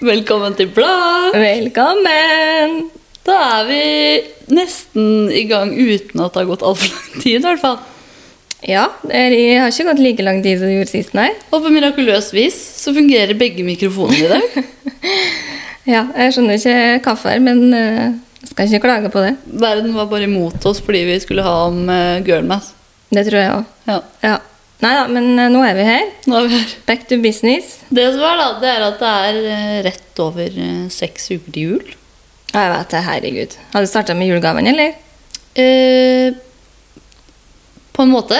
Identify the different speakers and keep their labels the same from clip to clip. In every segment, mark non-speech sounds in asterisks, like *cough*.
Speaker 1: Velkommen til Blad!
Speaker 2: Velkommen!
Speaker 1: Da er vi nesten i gang uten at det har gått altfor lang tid, i hvert fall.
Speaker 2: Ja, det har ikke gått like lang tid som det gjorde sist, nei.
Speaker 1: Og på mirakuløst vis så fungerer begge mikrofonene i dag.
Speaker 2: Ja, jeg skjønner ikke kaffe her, men eh, jeg skal ikke klage på det.
Speaker 1: Verden var bare imot oss fordi vi skulle ha om uh, girlmath.
Speaker 2: Det tror jeg òg.
Speaker 1: Ja,
Speaker 2: Ja. Nei da, men eh, nå er vi her.
Speaker 1: nå er vi her.
Speaker 2: Back to business.
Speaker 1: Det som er, da, det er at det er eh, rett over eh, seks uker til jul.
Speaker 2: Ja, Jeg vet det, herregud. Har du starta med julegavene, eller?
Speaker 1: Eh, på en måte.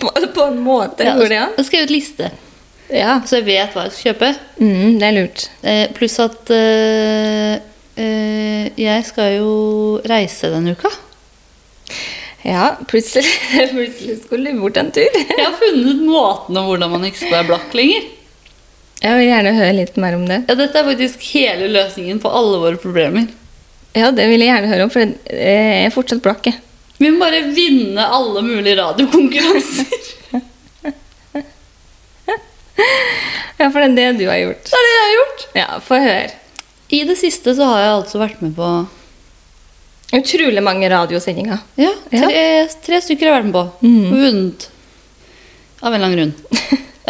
Speaker 2: På, en måte.
Speaker 1: Ja,
Speaker 2: Ja,
Speaker 1: jeg har skrevet liste,
Speaker 2: Ja.
Speaker 1: så jeg vet hva jeg skal kjøpe.
Speaker 2: Mm, det er lurt.
Speaker 1: Eh, pluss at eh, eh, jeg skal jo reise denne uka.
Speaker 2: Ja, plutselig, *laughs* plutselig skulle du bort en tur.
Speaker 1: Jeg har funnet måten om hvordan man ikke skal være blakk lenger.
Speaker 2: Jeg vil gjerne høre litt mer om det.
Speaker 1: Ja, Dette er faktisk hele løsningen på alle våre problemer.
Speaker 2: Ja, det vil jeg gjerne høre om, for jeg jeg er fortsatt blakk, jeg.
Speaker 1: Vi må bare vinne alle mulige radiokonkurranser.
Speaker 2: Ja, for det er det du har gjort.
Speaker 1: Det er det jeg har gjort.
Speaker 2: Ja, få høre.
Speaker 1: *laughs* I det siste så har jeg altså vært med på
Speaker 2: Utrolig mange radiosendinger.
Speaker 1: Ja, tre, tre stykker har jeg vært med på. Og Vunnet. Av en lang grunn.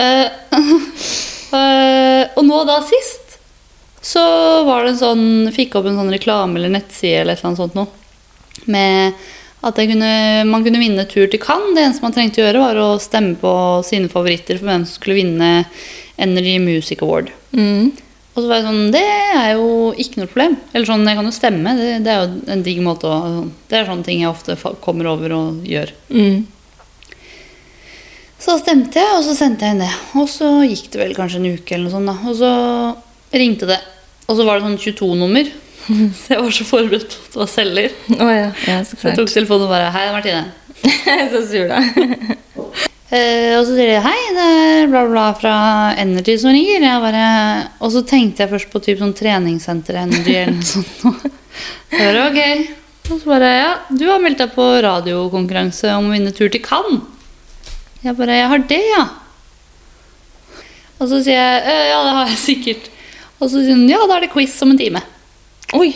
Speaker 1: Eh, eh, og nå da sist så var det en sånn Fikk opp en sånn reklame eller nettside eller et eller annet sånt noe. Med at jeg kunne, man kunne vinne tur til Cannes. Det eneste man trengte å gjøre, var å stemme på sine favoritter for hvem som skulle vinne Energy Music Award.
Speaker 2: Mm.
Speaker 1: Og så var jeg sånn Det er jo ikke noe problem. Eller sånn, jeg kan jo stemme. Det, det er jo en digg måte å Det er sånne ting jeg ofte fa- kommer over og gjør.
Speaker 2: Mm.
Speaker 1: Så da stemte jeg, og så sendte jeg inn det. Og så gikk det vel kanskje en uke eller noe sånt, da. Og så ringte det. Og så var det sånn 22-nummer. *laughs* Så jeg var så forberedt på at det var selger.
Speaker 2: Å ja. ja,
Speaker 1: Så
Speaker 2: så
Speaker 1: jeg
Speaker 2: klart.
Speaker 1: tok telefonen og bare Hei, det er Martine.
Speaker 2: *laughs* så sur, da.
Speaker 1: Eh, og så sier de hei, det er bla bla fra Energy som ringer. Jeg bare, og så tenkte jeg først på typ sånn treningssenter Energy eller noe sånt. Jeg bare, ok. Og så bare ja, du har meldt deg på radiokonkurranse om å vinne tur til Cannes. Jeg bare jeg har det, ja. Og så sier jeg «Eh, ja, det har jeg sikkert. Og så sier hun ja, da er det quiz om en time.
Speaker 2: *laughs* Oi.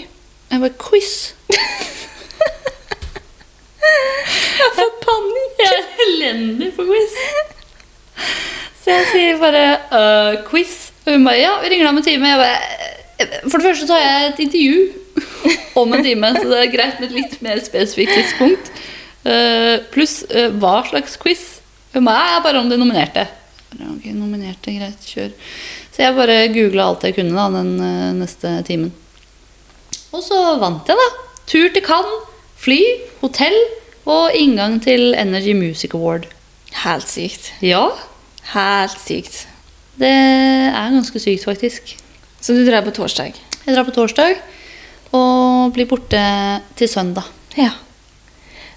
Speaker 1: Jeg bare quiz?
Speaker 2: Jeg får panikk.
Speaker 1: Jeg er elendig på quiz. Så jeg sier bare «Øh, quiz. Og hun bare ja, vi ringer deg om en time. Jeg bare, for det første så har jeg et intervju om en time, så det er greit med et litt mer spesifikt tidspunkt. Eh, Pluss eh, hva slags quiz? Hun bare ja, bare om de nominerte. Jeg bare, Ok, nominerte, greit, kjør. Så jeg bare googla alt jeg kunne da, den eh, neste timen. Og så vant jeg, da. Tur til Cannes, fly, hotell og inngang til Energy Music Award.
Speaker 2: Helt sykt.
Speaker 1: Ja,
Speaker 2: Helt sykt.
Speaker 1: det er ganske sykt, faktisk.
Speaker 2: Så du drar på torsdag?
Speaker 1: Jeg drar på torsdag og blir borte til søndag.
Speaker 2: Ja.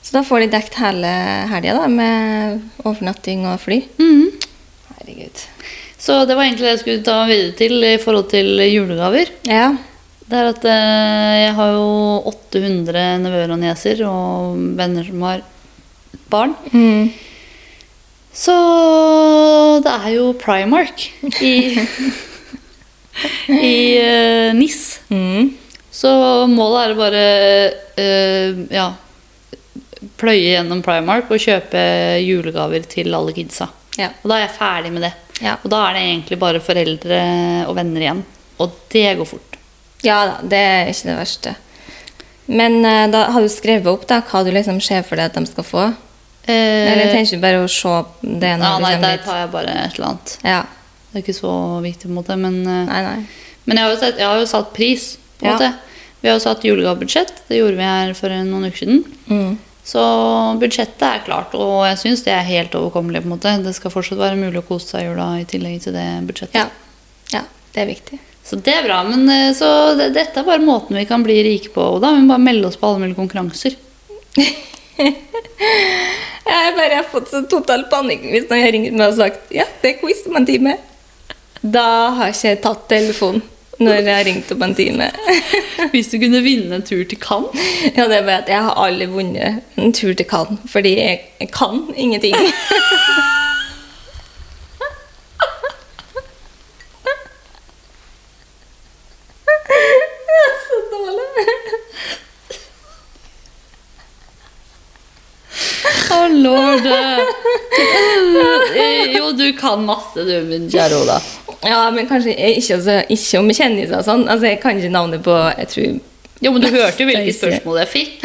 Speaker 2: Så da får de dekt hele helga, da, med overnatting og fly?
Speaker 1: Mhm.
Speaker 2: Herregud.
Speaker 1: Så det var egentlig det jeg skulle ta videre til i forhold til julegaver.
Speaker 2: Ja.
Speaker 1: Det er at eh, jeg har jo 800 nevøer og nieser og venner som har barn.
Speaker 2: Mm.
Speaker 1: Så det er jo Primark i, i eh, NIS.
Speaker 2: Mm.
Speaker 1: Så målet er å bare eh, ja, pløye gjennom Primark og kjøpe julegaver til alle kidsa.
Speaker 2: Ja.
Speaker 1: Og da er jeg ferdig med det.
Speaker 2: Ja.
Speaker 1: Og da er det egentlig bare foreldre og venner igjen. Og det går fort.
Speaker 2: ja da, det er ikke det verste. Men eh, da har du skrevet opp da, hva du liksom ser for deg at de skal få?
Speaker 1: Eh,
Speaker 2: Eller tenker du bare å se det når
Speaker 1: ja,
Speaker 2: du
Speaker 1: nei,
Speaker 2: kommer
Speaker 1: der
Speaker 2: dit?
Speaker 1: tar jeg bare et eller annet.
Speaker 2: Ja.
Speaker 1: Det er ikke så viktig, på en måte, men eh,
Speaker 2: Nei, nei.
Speaker 1: Men jeg har jo, sett, jeg har jo satt pris, på en
Speaker 2: Ja.
Speaker 1: måte. Vi har jo satt julegavebudsjett. Det gjorde vi her for en- noen uker siden.
Speaker 2: Mm.
Speaker 1: Så budsjettet er klart, og jeg syns det er helt overkommelig. på en måte. Det skal fortsatt være mulig å kose seg i jula i tillegg til det budsjettet.
Speaker 2: Ja. ja. Det er viktig.
Speaker 1: Så det er bra. Men eh, så det, dette er bare måten vi kan bli rike på, Oda. Vi må bare melde oss på alle mulige konkurranser.
Speaker 2: Jeg bare har fått så total panikk hvis noen har ringt meg og sagt ja, det er quiz om en time. Da har ikke jeg tatt telefonen når jeg har ringt om en time.
Speaker 1: *laughs*
Speaker 2: *laughs*
Speaker 1: Hvis du kunne vinne en tur til Cannes.
Speaker 2: Ja, det er bare at jeg har aldri vunnet en tur til Cannes, fordi jeg jeg kan ingenting. *laughs*
Speaker 1: lord! Eh, *laughs* Jo, du kan masse, du, min kjære Oda.
Speaker 2: Ja, men kanskje jeg ikke, altså, ikke om kjendiser og sånn. Altså, jeg kan ikke navnet på Jeg tror
Speaker 1: Jo, men du hørte jo hvilke spørsmål jeg fikk.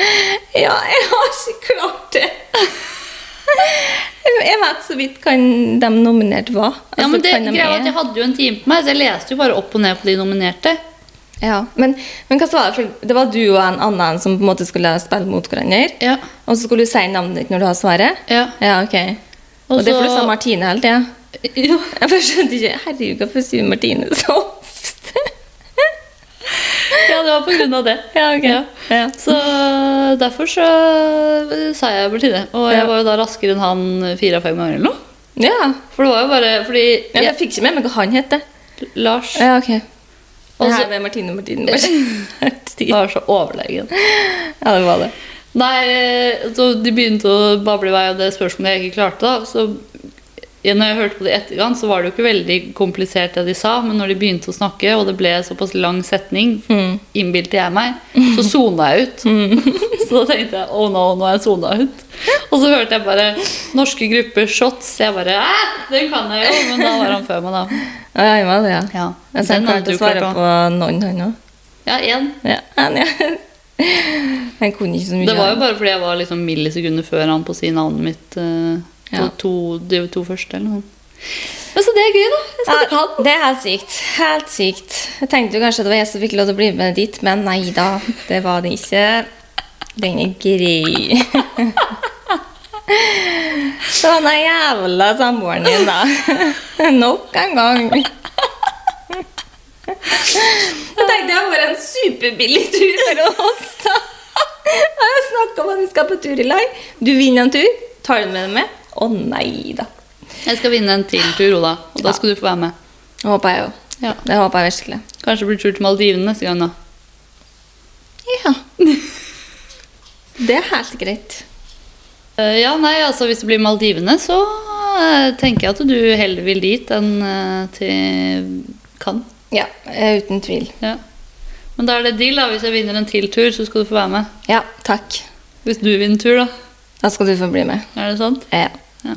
Speaker 2: Ja, jeg har ikke klart det. Jeg vet så vidt hva de nominerte var.
Speaker 1: Ja, men
Speaker 2: Altså,
Speaker 1: det
Speaker 2: hvem de
Speaker 1: greia var
Speaker 2: er.
Speaker 1: at Jeg hadde jo en time på meg, så jeg leste jo bare opp og ned på de nominerte.
Speaker 2: Ja, men, men hva så var det? For det var du og en annen som på en måte skulle spille mot hverandre.
Speaker 1: Ja.
Speaker 2: Og så skulle du si navnet ditt når du har svaret?
Speaker 1: Ja.
Speaker 2: Ja, ok.
Speaker 1: Og
Speaker 2: Og, det er for
Speaker 1: så-
Speaker 2: du sa Martine hele tida.
Speaker 1: Ja.
Speaker 2: Jeg bare skjønte ikke Herregud, hvorfor sier du Martine så ofte? *laughs*
Speaker 1: Ja, det var på grunn av det.
Speaker 2: Ja, ok.
Speaker 1: Ja.
Speaker 2: Ja.
Speaker 1: Så derfor så eh, sa jeg Bertine. Og jeg
Speaker 2: Ja.
Speaker 1: var jo da raskere enn han fire av fem ganger eller noe.
Speaker 2: ja.
Speaker 1: For det var jo bare fordi
Speaker 2: Ja, men Jeg fikk ikke med meg hva han het. det.
Speaker 1: Lars
Speaker 2: Ja, ok.
Speaker 1: Og
Speaker 2: Og
Speaker 1: så-
Speaker 2: så med Martine Martine. *laughs* Martine.
Speaker 1: var så overlegen.
Speaker 2: ja, det var det.
Speaker 1: Nei, eh, så de begynte å bable i vei av det spørsmålet jeg ikke klarte. da, så ja, når jeg hørte på det i etterkant, så var det jo ikke veldig komplisert det de sa, men når de begynte å snakke, og det ble såpass lang setning, innbilte jeg meg, så sona jeg ut. *laughs* Så da tenkte jeg oh no, nå er jeg sona ut. Og så hørte jeg bare norske grupper shots. Jeg bare æ, den kan jeg jo, men da var han før meg, da.
Speaker 2: Ja, jeg var det, ja.
Speaker 1: Ja,
Speaker 2: Jeg sa
Speaker 1: den hadde
Speaker 2: klarte
Speaker 1: du
Speaker 2: å svare
Speaker 1: klart
Speaker 2: på noen, han òg.
Speaker 1: Ja, én.
Speaker 2: Ja, han, ja. *laughs* Han kunne ikke så mye.
Speaker 1: Det var jo
Speaker 2: av
Speaker 1: bare fordi jeg var liksom millisekunder før han på å si navnet mitt. eh,
Speaker 2: Ja.
Speaker 1: På to, de to første eller noe. Men så det er gøy, da. Jeg skal ta
Speaker 2: Ja,
Speaker 1: den.
Speaker 2: det er helt sykt. Helt sykt. Jeg tenkte jo kanskje det var jeg som fikk lov til å bli med dit, men nei da, det var det ikke. Den er grei. Så han er jævla samboeren din, da. Nok en gang. Jeg tenkte det var en superbillig tur for oss, da. Jeg har snakka om at vi skal på tur i lag. Du vinner en tur. Tar du den med deg med? Å nei da.
Speaker 1: Jeg skal vinne en til tur, Oda. Og da
Speaker 2: Ja.
Speaker 1: skal du få være med.
Speaker 2: Det håper jeg jo.
Speaker 1: Ja.
Speaker 2: Det håper jeg virkelig.
Speaker 1: Kanskje det blir tur til Maldivene neste gang, da.
Speaker 2: Ja. Det er helt greit.
Speaker 1: Eh, ja, nei, altså hvis det blir Maldivene, så eh, tenker jeg at du heller vil dit enn eh, til Cannes.
Speaker 2: Ja, eh, uten tvil.
Speaker 1: Ja. Men da er det deal, da. Hvis jeg vinner en til tur, så skal du få være med.
Speaker 2: Ja, takk.
Speaker 1: Hvis du vinner tur, da.
Speaker 2: Da skal du få bli med. Eh,
Speaker 1: Er det sant?
Speaker 2: Ja.
Speaker 1: Ja.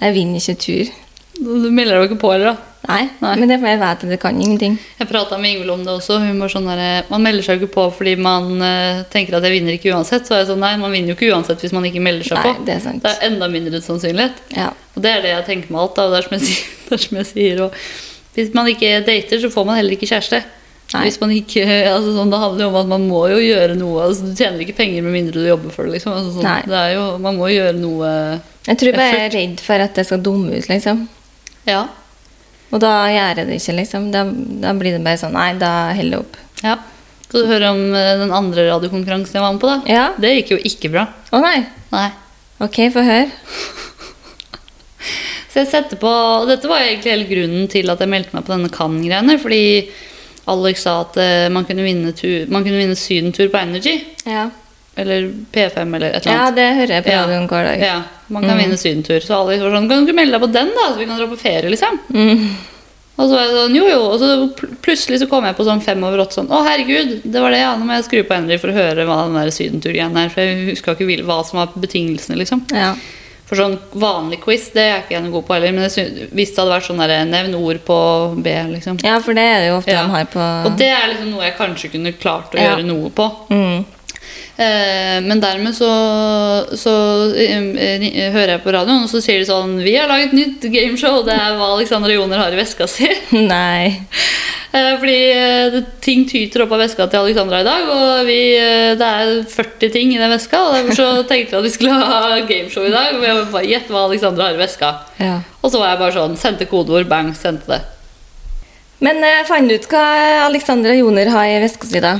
Speaker 2: Jeg vinner ikke tur.
Speaker 1: Du melder deg jo ikke på heller, da.
Speaker 2: Nei,
Speaker 1: Nei.
Speaker 2: men det er fordi jeg vet at jeg kan ingenting.
Speaker 1: Jeg prata med Ingvild om det også. Hun var sånn der, Man melder seg jo ikke på fordi man eh, tenker at jeg vinner ikke uansett. Så er jeg sånn, nei, man vinner jo ikke uansett hvis man ikke melder seg
Speaker 2: Nei,
Speaker 1: på.
Speaker 2: det er sant.
Speaker 1: Det er enda mindre sannsynlighet.
Speaker 2: Ja.
Speaker 1: Og det er det jeg tenker med alt. Da. og Det er som jeg *laughs* sier. Det er som jeg sier og hvis man ikke dater, så får man heller ikke kjæreste.
Speaker 2: Nei.
Speaker 1: Hvis man ikke, *laughs* altså sånn, Det handler jo om at man må jo gjøre noe. Altså, du tjener ikke penger med mindre du jobber for det. liksom. Altså,
Speaker 2: Nei.
Speaker 1: sånn, det er jo, man må jo gjøre noe
Speaker 2: Jeg tror bare jeg er redd for at jeg skal dumme ut, liksom.
Speaker 1: Ja.
Speaker 2: Og da gjør jeg det ikke, liksom. Da, da blir det bare sånn Nei, da holder jeg opp.
Speaker 1: ja. Skal du høre om eh, den andre radiokonkurransen jeg var med på? da?
Speaker 2: Ja.
Speaker 1: Det gikk jo ikke bra.
Speaker 2: Å nei.
Speaker 1: Nei.
Speaker 2: Ok, få høre.
Speaker 1: Så jeg setter på, og dette var egentlig hele grunnen til at jeg meldte meg på denne Cannes-greiene. Fordi Alex sa at eh, man kunne vinne, tu- man kunne vinne sydentur på Energy.
Speaker 2: Ja.
Speaker 1: Eller P5 eller et eller
Speaker 2: ja,
Speaker 1: annet.
Speaker 2: det hører jeg på
Speaker 1: Ja.
Speaker 2: radioen hver dag.
Speaker 1: Ja, man kan vinne sydentur. Så Alex var sånn, kan du ikke melde deg på den da, så vi kan dra på ferie liksom? Og så var jeg sånn, jo jo, og så pl- plutselig så kom jeg på sånn fem over åtte sånn, å herregud, det var det ja, nå må jeg skru på Henry for å høre hva den der sydentur-greien er, for jeg husker ikke hvil- hva som var betingelsene liksom.
Speaker 2: Ja.
Speaker 1: For sånn vanlig quiz, det er jeg ikke noe god på heller, men jeg synes, hvis det hadde vært sånn der, nevn ord på B liksom.
Speaker 2: ja, for det er det jo ofte
Speaker 1: Ja.
Speaker 2: de har på
Speaker 1: Og det er liksom noe jeg kanskje kunne klart å
Speaker 2: Ja.
Speaker 1: gjøre noe på.
Speaker 2: mm. *laughs*
Speaker 1: Eh, men dermed så, så eh, eh, hører jeg på radioen, og så sier de sånn Vi har laget nytt gameshow, det er hva Alexander og Joner har i veska si. *laughs*
Speaker 2: Nei.
Speaker 1: Eh, fordi eh, det, ting tyter opp av veska til Alexandra i dag, og vi, eh, det er 40 ting i den veska, og derfor så tenkte vi at vi skulle ha gameshow i dag. Og jeg bare gjett hva Alexandra har i veska.
Speaker 2: Ja.
Speaker 1: Og så var jeg bare sånn, sendte kodeord, bang, sendte det.
Speaker 2: Men eh, fant du ut hva Alexandra Joner har i veska si, da?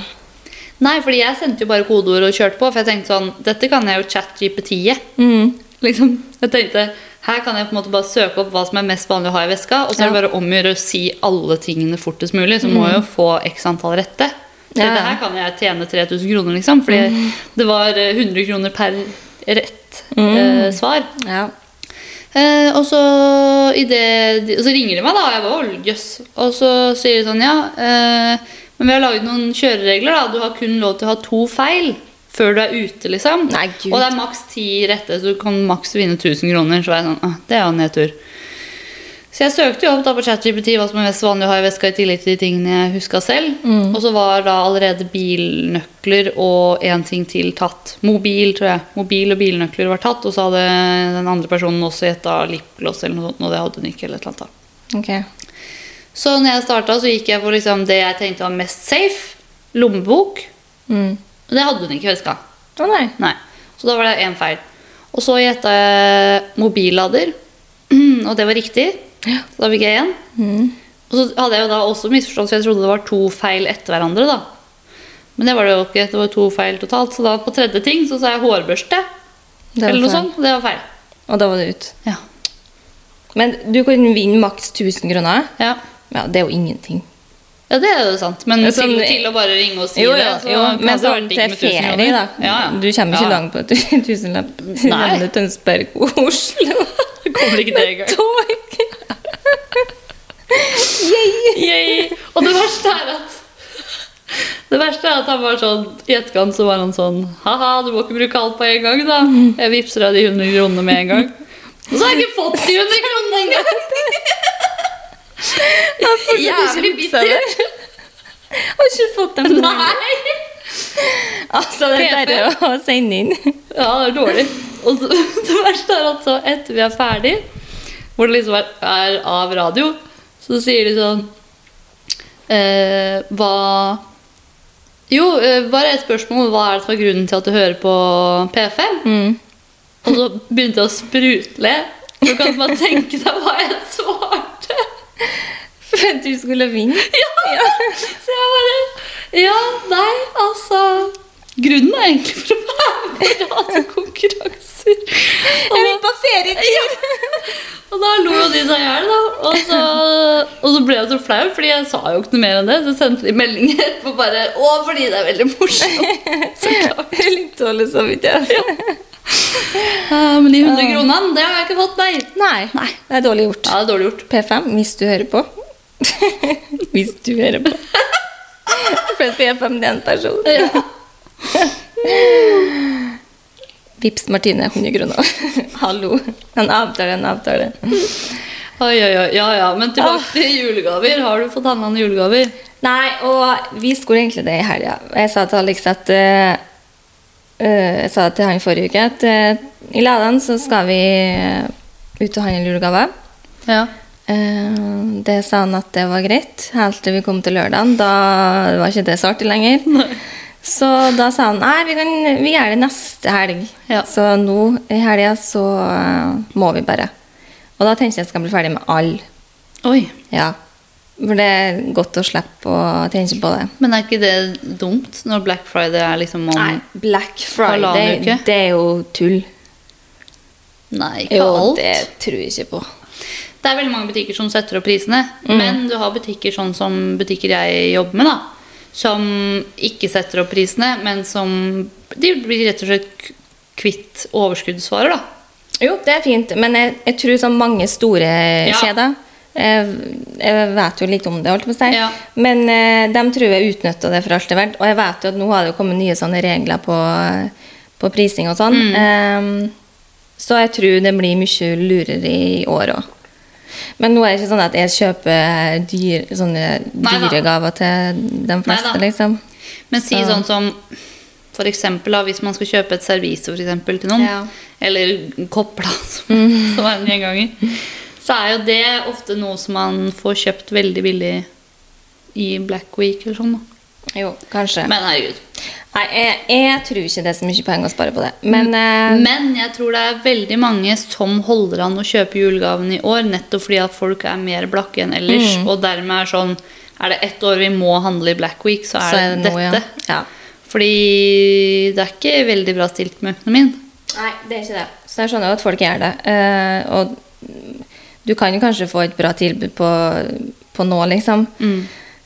Speaker 1: Nei, fordi jeg sendte jo bare kodeord og kjørte på, for jeg tenkte sånn Dette kan jeg jo chat-GPT-et. *laughs* Liksom, jeg tenkte her kan jeg på en måte bare søke opp hva som er mest vanlig å ha i veska, og så er det bare om å gjøre å si alle tingene fortest mulig, så må jeg jo få x antall rette. Så
Speaker 2: Ja, ja.
Speaker 1: Dette her kan jeg tjene 3000 kroner, liksom, fordi det var eh, 100 kroner per rett eh, svar.
Speaker 2: Ja.
Speaker 1: Eh, og, så i det, de- og så ringer de meg, da, og jeg bare «Å, jøss. Og så sier de sånn, ja, eh, men vi har laget noen kjøreregler, da. Du har kun lov til å ha to feil. før du er ute, liksom.
Speaker 2: Nei, Gud.
Speaker 1: Og det er maks ti rette, så du kan maks vinne 1000 kroner. Så var jeg sånn, ah, det er jo en nedtur. Så jeg søkte jo opp da på ChatGPT hva som er mest vanlig å ha i veska, i tillegg til de tingene jeg huska selv. Og så var da allerede bilnøkler og én ting til tatt. Mobil, tror jeg. Mobil og bilnøkler var tatt, og så hadde den andre personen også gjetta lipgloss eller noe sånt, og det hadde hun ikke. eller et eller annet da.
Speaker 2: Ok.
Speaker 1: Så når jeg starta, så gikk jeg for liksom det jeg tenkte var mest safe. Lommebok.
Speaker 2: Mm.
Speaker 1: Og det hadde hun ikke i veska.
Speaker 2: Å nei.
Speaker 1: Nei. Så da var det én feil. Og så gjetta jeg mobillader, *clears throat* og det var riktig. Så da fikk jeg én.
Speaker 2: Mm.
Speaker 1: Og så hadde jeg jo da også misforstått, for jeg trodde det var to feil etter hverandre. da. Men det var det jo ikke. Det var to feil totalt. Så da på tredje ting så sa jeg hårbørste.
Speaker 2: Det var
Speaker 1: eller noe
Speaker 2: feil.
Speaker 1: sånt. Det var feil.
Speaker 2: Og da var det ut.
Speaker 1: Ja.
Speaker 2: Men du kan vinne maks 1000 kroner.
Speaker 1: Ja.
Speaker 2: Ja, det er jo ingenting.
Speaker 1: ja, det er jo sant. Men
Speaker 2: Men sånn-
Speaker 1: til, til å bare ringe og si
Speaker 2: Jo,
Speaker 1: det
Speaker 2: jo,
Speaker 1: så
Speaker 2: jo.
Speaker 1: kan
Speaker 2: men
Speaker 1: det ha
Speaker 2: sånn
Speaker 1: vært ikke
Speaker 2: til
Speaker 1: med 1000
Speaker 2: ferie, da.
Speaker 1: kroner. Ja, ja.
Speaker 2: Du kommer ikke
Speaker 1: Ja.
Speaker 2: langt på en tusenlapp.
Speaker 1: Nei.
Speaker 2: Landet Tønsberg, Oslo.
Speaker 1: Det *laughs* kommer ikke det engang.
Speaker 2: Tog.
Speaker 1: Yay. Og det verste er at Det verste er at han var sånn I etterkant så var han sånn Haha, du må ikke bruke alt på en gang, da. Jeg vippser deg de 100 kronene med en gang. Og så har jeg ikke fått de 100 kronene engang! *laughs* Jævlig bitter.
Speaker 2: Har ikke fått dem.
Speaker 1: Nei!
Speaker 2: Altså, det er
Speaker 1: PP.
Speaker 2: bare å sende inn.
Speaker 1: Ja, det er dårlig. Og så, *laughs* det verste er at så etter vi er ferdig, hvor det liksom er, er av radio, så sier de sånn eh, Hva Jo, eh, bare et spørsmål. Hva er det som er grunnen til at du hører på P5? Og så begynte jeg å sprutle. Du kan bare tenke deg hva jeg svarte.
Speaker 2: For at du skulle vinne.
Speaker 1: Så jeg bare Ja, nei, altså Grunnen er egentlig for å være med på radiokonkurranser. Og da-
Speaker 2: på ferietur!
Speaker 1: Og da lo jo de seg i hjel, da. Og så, og så ble jeg så flau, fordi jeg sa jo ikke noe mer enn det. Så sendte de meldinger etterpå bare Å, fordi det er veldig morsomt. Så klart.
Speaker 2: Litt dårlig samvittighet.
Speaker 1: Eh, men de 100 kronene, det har jeg ikke fått, nei.
Speaker 2: Nei.
Speaker 1: Nei.
Speaker 2: Det er dårlig gjort.
Speaker 1: Ja, det er dårlig gjort.
Speaker 2: P5, hvis du hører på. *laughs* hvis du hører på. For at P5 det er en person.
Speaker 1: Ja.
Speaker 2: Vips Martine 100 kroner. *laughs* Hallo. En avtale, en avtale.
Speaker 1: Oi, oi, oi. Ja, ja. Men tilbake til julegaver. Har du fått handla noen julegaver?
Speaker 2: Nei, og vi skulle egentlig det i helga. Jeg sa til Alex at eh, eh, Jeg sa til han forrige uke at eh, i Ladan så skal vi eh, ut og handle julegave.
Speaker 1: Ja.
Speaker 2: Eh, det sa han at det var greit, helt til vi kom til lørdagen. Da var ikke det så artig lenger. Så da sa han nei, vi, kan, vi gjør det neste helg.
Speaker 1: Ja.
Speaker 2: Så nå i helga så eh, må vi bare. Og da tenkte jeg at jeg skal bli ferdig med alle.
Speaker 1: Oi.
Speaker 2: Ja. For det er godt å slippe å tenke på det.
Speaker 1: Men er ikke det dumt når Black Friday er liksom om
Speaker 2: Nei, Black
Speaker 1: Halvannen
Speaker 2: Friday,
Speaker 1: uke.
Speaker 2: det er jo tull.
Speaker 1: Nei, ikke
Speaker 2: Jo,
Speaker 1: alt.
Speaker 2: det tror jeg ikke på.
Speaker 1: Det er veldig mange butikker som setter opp prisene, men du har butikker sånn som butikker jeg jobber med, da, som ikke setter opp prisene, men som De blir rett og slett k- kvitt overskuddsvarer, da.
Speaker 2: Jo, det er fint, men jeg, jeg tror så mange store
Speaker 1: Ja.
Speaker 2: kjeder jeg, jeg vet jo litt om det, holdt jeg på å si.
Speaker 1: Ja.
Speaker 2: Men eh, de tror jeg utnytter det for alt det er verdt. Og jeg vet jo at nå har det jo kommet nye sånne regler på, på prising og sånn.
Speaker 1: Mm.
Speaker 2: Ehm, så jeg tror det blir mye lurere i år òg. Men nå er det ikke sånn at jeg kjøper dyr, sånne
Speaker 1: Neida.
Speaker 2: dyre gaver til de fleste,
Speaker 1: Neida.
Speaker 2: liksom.
Speaker 1: Men si
Speaker 2: Så-
Speaker 1: sånn som for eksempel, da, hvis man skal kjøpe et servise for eksempel, til noen,
Speaker 2: Ja. Mm.
Speaker 1: eller kopla, *laughs* som, som er en gjenganger, så er jo det ofte noe som man får kjøpt veldig billig i Black Week eller sånn. da.
Speaker 2: Jo, kanskje.
Speaker 1: Men herregud.
Speaker 2: Nei, jeg, jeg tror ikke det er så mye penger å spare på det. Men
Speaker 1: Mm.
Speaker 2: eh,
Speaker 1: Men jeg tror det er veldig mange som holder an å kjøpe julegaven i år, nettopp fordi at folk er mer blakke enn ellers.
Speaker 2: Mm.
Speaker 1: Og dermed er sånn Er det ett år vi må handle i Black Week, så er,
Speaker 2: så er
Speaker 1: det
Speaker 2: det noe,
Speaker 1: dette.
Speaker 2: ja. ja.
Speaker 1: Fordi det er ikke veldig bra stilt med økonomien.
Speaker 2: Nei, det er ikke det. Så jeg skjønner jo at folk gjør det. Eh, og du kan jo kanskje få et bra tilbud på, på nå, liksom.
Speaker 1: Mm.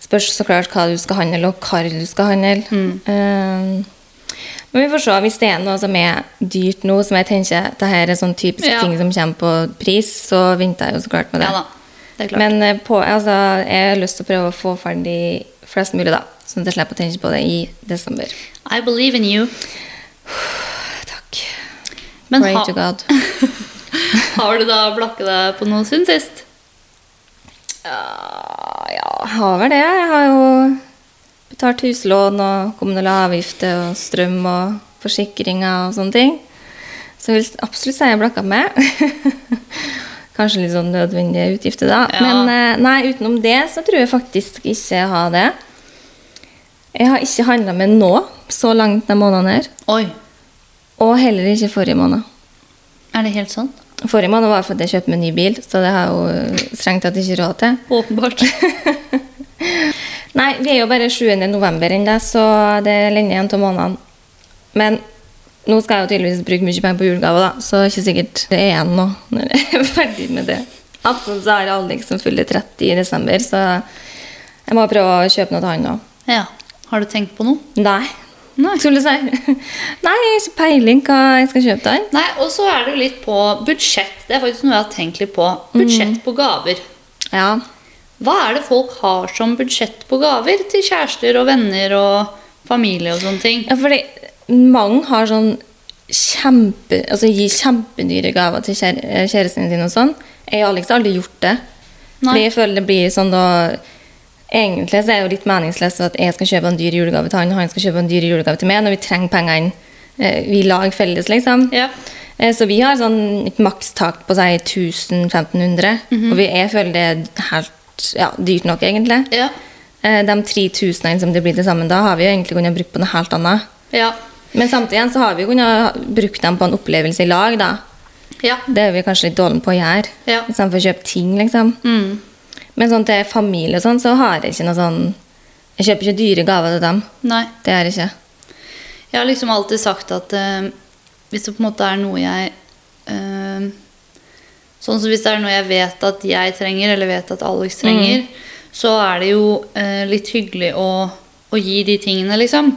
Speaker 2: Spørs så klart hva du skal handle, og hvor du skal handle.
Speaker 1: Mm.
Speaker 2: Eh, men vi får se. Hvis det er noe som er dyrt nå, som jeg tenker det her er sånn typisk
Speaker 1: Ja.
Speaker 2: ting som kommer på pris, så venter jeg jo så klart med det.
Speaker 1: Ja da, det er klart.
Speaker 2: Men eh, på, altså, jeg har lyst til å prøve å få ferdig flest mulig, da. Sånn at jeg slipper å tenke på det i desember.
Speaker 1: I believe in you. Men
Speaker 2: Pray
Speaker 1: ha-
Speaker 2: to God.
Speaker 1: *laughs* Har du da blakket deg på noe siden sist?
Speaker 2: Ja, ja, har vel det. Jeg har jo betalt huslån og kommunale avgifter og strøm og forsikringer og sånne ting. Så jeg vil absolutt si jeg blakka med. *laughs* Kanskje litt sånn nødvendige utgifter, da.
Speaker 1: Ja.
Speaker 2: Men eh, nei, utenom det så tror jeg faktisk ikke jeg har det. Jeg har ikke handla med nå, så langt denne måneden her.
Speaker 1: Oi,
Speaker 2: Og heller ikke forrige måned.
Speaker 1: er det helt sånn?
Speaker 2: Forrige måned var fordi jeg kjøpte meg ny bil, så det har jeg jo strengt tatt ikke råd til.
Speaker 1: Åpenbart. *laughs*
Speaker 2: Nei, vi er jo bare 7. november ennå, så det er lenge igjen til månedene. Men nå skal jeg jo tydeligvis bruke mye penger på julegaver, da, så det er ikke sikkert det er igjen nå når jeg er ferdig med det. Attpåtil så har Alex som fyller 30 i desember, så jeg må prøve å kjøpe noe til han òg.
Speaker 1: Ja. Har du tenkt på noe?
Speaker 2: Nei.
Speaker 1: Nei.
Speaker 2: Skulle si. *laughs* Nei, jeg har ikke peiling hva jeg skal kjøpe til han.
Speaker 1: Nei, og så er det jo litt på budsjett. Det er faktisk noe jeg har tenkt litt på. Budsjett på gaver.
Speaker 2: Ja.
Speaker 1: Hva er det folk har som budsjett på gaver til kjærester og venner og familie og sånne ting?
Speaker 2: ja, fordi mange har sånn kjempe, altså gir kjempedyre gaver til kjære, kjæresten sin og sånn. Jeg og Alex har aldri gjort det.
Speaker 1: Nei.
Speaker 2: Fordi jeg føler det blir sånn da Egentlig så er det jo litt meningsløst at jeg skal kjøpe en dyr julegave til han, og han skal kjøpe en dyr julegave til meg, når vi trenger pengene eh, vi lag felles, liksom.
Speaker 1: Ja.
Speaker 2: Eh, Så vi har sånn et makstak på si 1500,
Speaker 1: Mhm.
Speaker 2: og vi, jeg føler det er helt ja, dyrt nok, egentlig.
Speaker 1: Ja.
Speaker 2: Eh, De 3000 som liksom det blir til sammen da, har vi jo egentlig kunnet brukt på noe helt annet.
Speaker 1: Ja.
Speaker 2: Men samtidig igjen så har vi kunnet brukt dem på en opplevelse i lag, da.
Speaker 1: Ja.
Speaker 2: Det er vi kanskje litt dårlige på å gjøre,
Speaker 1: Ja.
Speaker 2: istedenfor å kjøpe ting, liksom.
Speaker 1: Mm.
Speaker 2: Men sånn til familie og sånn, så har jeg ikke noe sånn Jeg kjøper ikke dyre gaver til dem.
Speaker 1: Nei.
Speaker 2: Det gjør jeg ikke.
Speaker 1: Jeg har liksom alltid sagt at eh, hvis det på en måte er noe jeg eh, Sånn som hvis det er noe jeg vet at jeg trenger, eller vet at Alex trenger, så er det jo eh, litt hyggelig å, å gi de tingene, liksom.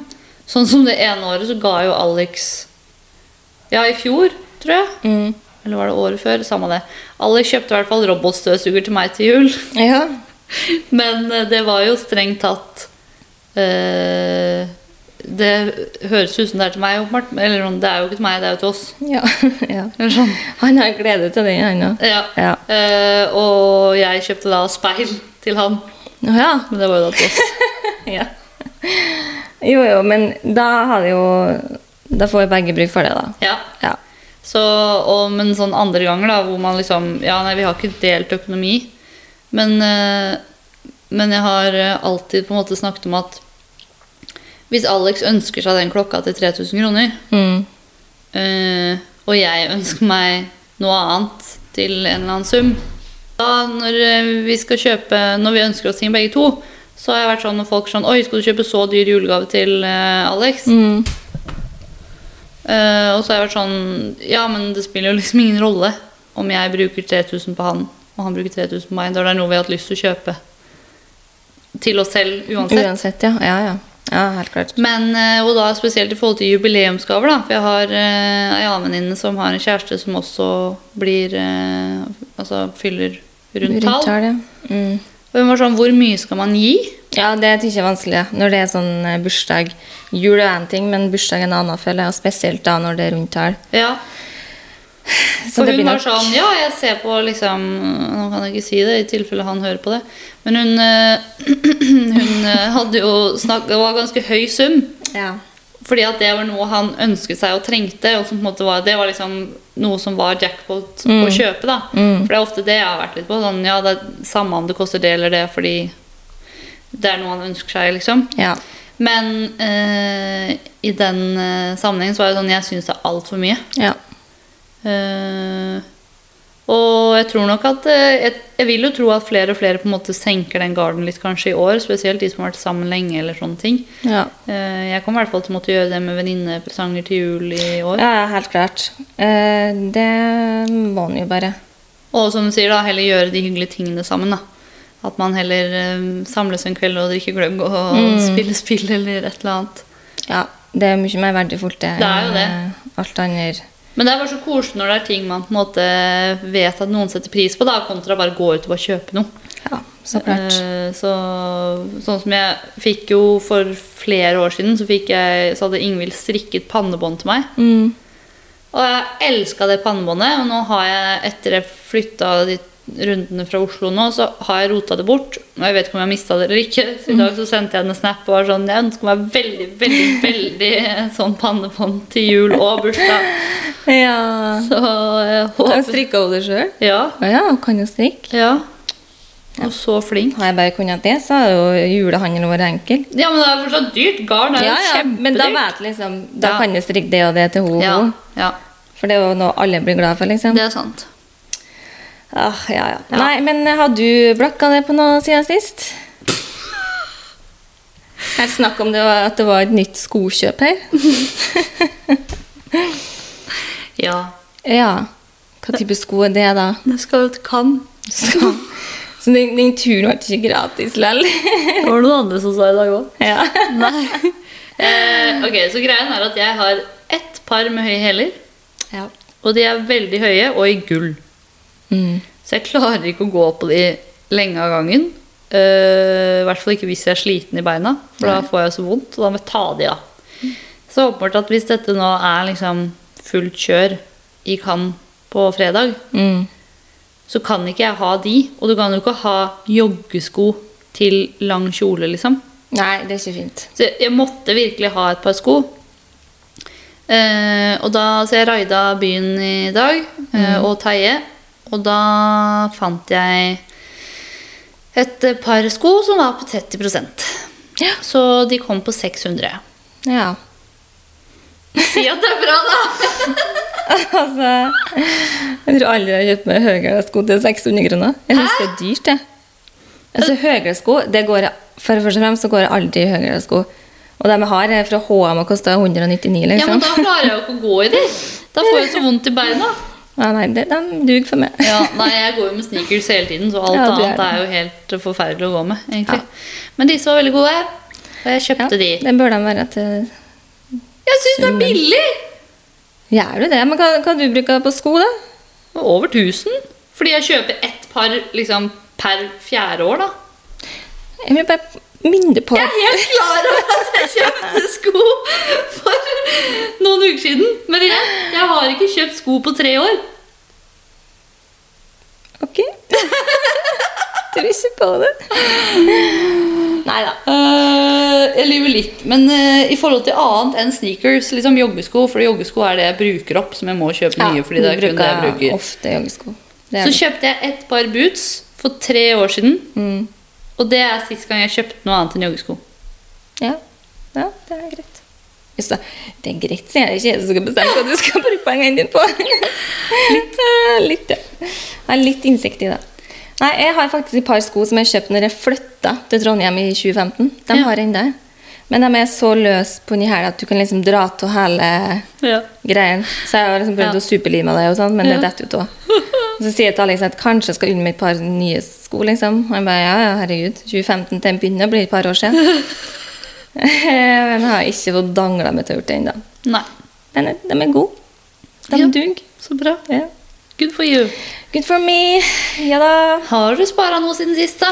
Speaker 1: Sånn som det ene året så ga jo Alex Ja, i fjor, tror jeg. Eller var det året før? Samme det. Alex kjøpte i hvert fall robotstøvsuger til meg til jul.
Speaker 2: Ja.
Speaker 1: Men eh, det var jo strengt tatt eh, Det høres ut som det er til meg, åpenbart. Eller sånn, det er jo ikke til meg, det er jo til oss.
Speaker 2: ja. *laughs* ja.
Speaker 1: Eller sånn.
Speaker 2: Han har glede til den, han òg.
Speaker 1: Ja.
Speaker 2: Ja.
Speaker 1: Eh, og jeg kjøpte da speil til han.
Speaker 2: Å ja.
Speaker 1: Men det var jo da til oss.
Speaker 2: ja. Jo jo, men da har det jo Da får vi begge bruk for det, da.
Speaker 1: Ja.
Speaker 2: Ja.
Speaker 1: Så, og, men sånn andre ganger, da, hvor man liksom Ja, nei, vi har ikke delt økonomi. Men, eh, men jeg har eh, alltid på en måte snakket om at hvis Alex ønsker seg den klokka til 3000 kroner,
Speaker 2: Mm.
Speaker 1: Eh, og jeg ønsker meg noe annet til en eller annen sum. Da når eh, vi skal kjøpe Når vi ønsker oss ting begge to, så har jeg vært sånn når folk er sånn Oi, skal du kjøpe så dyr julegave til eh, Alex?
Speaker 2: Mm.
Speaker 1: Eh, og så har jeg vært sånn Ja, men det spiller jo liksom ingen rolle om jeg bruker 3000 på han, og han bruker 3000 på meg. Da er det noe vi har hatt lyst til å kjøpe til oss selv uansett.
Speaker 2: Uansett, ja. Ja, ja. Ja, helt klart.
Speaker 1: Men, eh, og da spesielt i forhold til jubileumsgaver, da. For jeg har eh, ei annen venninne som har en kjæreste som også blir eh, Altså fyller rundt tall.
Speaker 2: ja. Mm.
Speaker 1: Og hun var sånn Hvor mye skal man gi?
Speaker 2: Ja, det tykker jeg er vanskelig. ja. Når det er sånn eh, bursdag Jul er en ting, men bursdag er en annen, føler jeg. Og spesielt da når det
Speaker 1: *laughs*
Speaker 2: er rundtall.
Speaker 1: Ja.
Speaker 2: Så
Speaker 1: For
Speaker 2: det
Speaker 1: hun
Speaker 2: blir
Speaker 1: var
Speaker 2: nok
Speaker 1: sånn Ja, jeg ser på liksom Nå kan jeg ikke si det, i tilfelle han hører på det. Men hun eh, *clears throat* Hun eh, hadde jo snakk... Det var ganske høy sum.
Speaker 2: ja.
Speaker 1: Fordi at det var noe han ønsket seg og trengte. Og som på en måte var, det var liksom noe som var jackpot å kjøpe. da. For det er ofte det jeg har vært litt på. Sånn, ja, det er Samme om det koster det eller det, fordi det er noe han ønsker seg. liksom.
Speaker 2: ja.
Speaker 1: Men eh, i den eh, sammenhengen så var det sånn jeg syns det er altfor mye.
Speaker 2: ja.
Speaker 1: Eh, og jeg tror nok at eh, jeg, jeg vil jo tro at flere og flere på en måte senker den garden litt kanskje i år. Spesielt de som har vært sammen lenge. eller sånne ting.
Speaker 2: Ja.
Speaker 1: Eh, Jeg kommer i hvert fall til å måtte gjøre det med venninnepresanger til jul i år.
Speaker 2: ja, helt klart. Eh, det må en jo bare.
Speaker 1: Og som du sier, da, heller gjøre de hyggelige tingene sammen. da. At man heller eh, samles en kveld og drikker gløgg og spiller spill eller et eller annet.
Speaker 2: Ja, det er mye mer verdifullt det
Speaker 1: Det er jo det.
Speaker 2: enn, eh, alt annet.
Speaker 1: Men det er bare så koselig når det er ting man på en måte vet at noen setter pris på, da, kontra bare gå ut og bare kjøpe noe.
Speaker 2: Ja, så klart.
Speaker 1: Eh, Så, sånn som jeg fikk jo Eh. for flere år siden, så, fikk jeg, så hadde Ingvild strikket pannebånd til meg.
Speaker 2: Mm.
Speaker 1: Og jeg elska det pannebåndet. Og nå har jeg, etter jeg flytta de rundene fra Oslo nå, så har jeg rota det bort. Og jeg vet ikke om jeg har mista det eller ikke. Så i dag så sendte jeg henne en snap og var sånn Jeg ønsker meg veldig, veldig, veldig sånn pannebånd til jul og bursdag.
Speaker 2: Ja.
Speaker 1: Så jeg
Speaker 2: Har du
Speaker 1: håper
Speaker 2: strikka henne sjøl?
Speaker 1: Ja.
Speaker 2: Å ja, kan jo strikke.
Speaker 1: ja. Og så flink.
Speaker 2: Har jeg bare kunnet det, så har jo julehandelen vært enkel.
Speaker 1: Ja, men det er fortsatt dyrt. Garn er jo
Speaker 2: Ja, ja, men da
Speaker 1: kjempedyrt.
Speaker 2: vet jeg liksom Da
Speaker 1: Ja.
Speaker 2: kan jeg strikke det og det til henne.
Speaker 1: Ja, ja,
Speaker 2: For det er jo noe alle blir glad for, liksom.
Speaker 1: det er sant.
Speaker 2: Ah, ja, ja. Nei, men eh, har du blakka det på noe siden sist?
Speaker 1: *laughs*
Speaker 2: Her snakk om det var, at det var et nytt skokjøp her.
Speaker 1: Ja.
Speaker 2: *laughs* Ja. Hva type sko er det, da?
Speaker 1: Det skal jo til Cannes.
Speaker 2: Så, *laughs* så den, den turen ble ikke gratis *laughs* likevel.
Speaker 1: Det var noen andre som sa i dag òg.
Speaker 2: Ja.
Speaker 1: *laughs* Eh, ok, så greien er at jeg har ett par med høye hæler,
Speaker 2: ja.
Speaker 1: og de er veldig høye og i gull.
Speaker 2: Mm.
Speaker 1: Så jeg klarer ikke å gå på de lenge av gangen. Eh, I hvert fall ikke hvis jeg er sliten i beina, for da får jeg så vondt, og da må jeg ta de av. Så åpenbart at hvis dette nå er liksom fullt kjør i Cannes på fredag,
Speaker 2: Mm.
Speaker 1: så kan ikke jeg ha de, og du kan jo ikke ha joggesko til lang kjole, liksom.
Speaker 2: Nei, det er ikke fint.
Speaker 1: Så jeg- jeg måtte virkelig ha et par sko. Eh, og da, så jeg raida byen i dag, eh, og Teie. Og da fant jeg et eh, par sko som var på 30
Speaker 2: Ja.
Speaker 1: Så de kom på 600.
Speaker 2: Ja.
Speaker 1: Si at det er bra, da!
Speaker 2: *laughs* Altså Jeg tror aldri jeg har kjøpt meg høyere sko til 600 kroner. Jeg syns det er dyrt, jeg. Altså, høyere sko det går jeg, For først og fremst så går jeg aldri i høyere sko. Og de jeg har, er fra HM og koster 199,
Speaker 1: Ja,
Speaker 2: liksom.
Speaker 1: men Da klarer jeg jo ikke å gå i de. Da får jeg så vondt i beina.
Speaker 2: Ja, nei, det, de duger for meg.
Speaker 1: Ja, nei, Jeg går jo med sneakers hele tiden, så alt
Speaker 2: Ja, du er
Speaker 1: annet er jo helt forferdelig å gå med. egentlig. Men disse var veldig gode, og jeg
Speaker 2: Ja,
Speaker 1: kjøpte de.
Speaker 2: det bør de være til
Speaker 1: Jeg syns det er billig!
Speaker 2: Gjør du det? Men hva, hva du bruker på sko, da?
Speaker 1: Det var Over 1000. Fordi jeg kjøper ett par liksom, per fjerde år, da.
Speaker 2: Jeg vil bare minne på
Speaker 1: Jeg er helt klar over at jeg kjøpte sko for noen uker siden. Men igjen, jeg har ikke kjøpt sko på tre år.
Speaker 2: Ok. *laughs* Tror ikke på det. Nei da.
Speaker 1: Eh, jeg lyver litt, men eh, i forhold til annet enn sneakers, liksom joggesko, for joggesko er det jeg bruker opp, som jeg må kjøpe nye fordi det er kun det jeg bruker.
Speaker 2: Ofte joggesko. Det er
Speaker 1: Så
Speaker 2: det.
Speaker 1: kjøpte jeg ett par boots for tre år siden,
Speaker 2: Mm.
Speaker 1: og det er sist gang jeg kjøpte noe annet enn joggesko.
Speaker 2: Ja. ja, det er greit. Jeg sa, det er greit, sier jeg. Det er ikke jeg som skal bestemme hva du skal bruke
Speaker 1: *laughs*
Speaker 2: pengene dine på. litt, eh, litt, ja. Jeg har litt innsikt i det. Nei, jeg har faktisk et par sko som jeg kjøpte når jeg flytta til Trondheim i 2015. De
Speaker 1: Ja.
Speaker 2: har jeg ennå. Men de er så løse på den hæla at du kan liksom dra av hele
Speaker 1: Ja.
Speaker 2: greien. Så jeg har liksom prøvd
Speaker 1: Ja.
Speaker 2: å superlime det, og sånt, men det
Speaker 1: Ja.
Speaker 2: detter jo av. Og Så sier jeg til Alex at kanskje jeg skal unne meg et par nye sko. liksom. Og han bare ja, ja, herregud. 2015 til en begynner blir et par år siden. *laughs* men jeg har ikke fått dangla meg til å gjøre det ennå.
Speaker 1: Nei.
Speaker 2: Men eh, de er gode. De
Speaker 1: Ja.
Speaker 2: duger.
Speaker 1: Så bra.
Speaker 2: Ja.
Speaker 1: Good for you.
Speaker 2: Good for me. Ja da.
Speaker 1: Har du spara noe siden sist, da?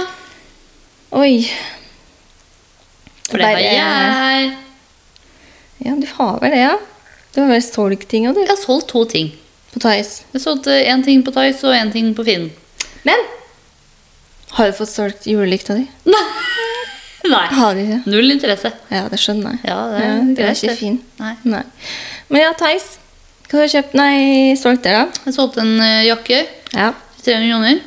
Speaker 2: Oi.
Speaker 1: For det har jeg.
Speaker 2: Ja, du har vel det, ja. Du har vel solgt ting og du.
Speaker 1: Jeg har solgt to ting.
Speaker 2: På Thais.
Speaker 1: Jeg solgte én ting på Tice og én ting på Finn.
Speaker 2: Men har du fått solgt julelykta di?
Speaker 1: *laughs* Nei.
Speaker 2: Har du ikke?
Speaker 1: Null interesse.
Speaker 2: Ja, det skjønner jeg.
Speaker 1: Ja, det er
Speaker 2: det er
Speaker 1: greit,
Speaker 2: ikke
Speaker 1: det.
Speaker 2: fin.
Speaker 1: Nei.
Speaker 2: Nei. Men ja, Theis. Hva har du kjøpt? Nei, solgt der, da?
Speaker 1: Jeg solgte en eh, jakke
Speaker 2: Ja.
Speaker 1: til 300 kroner.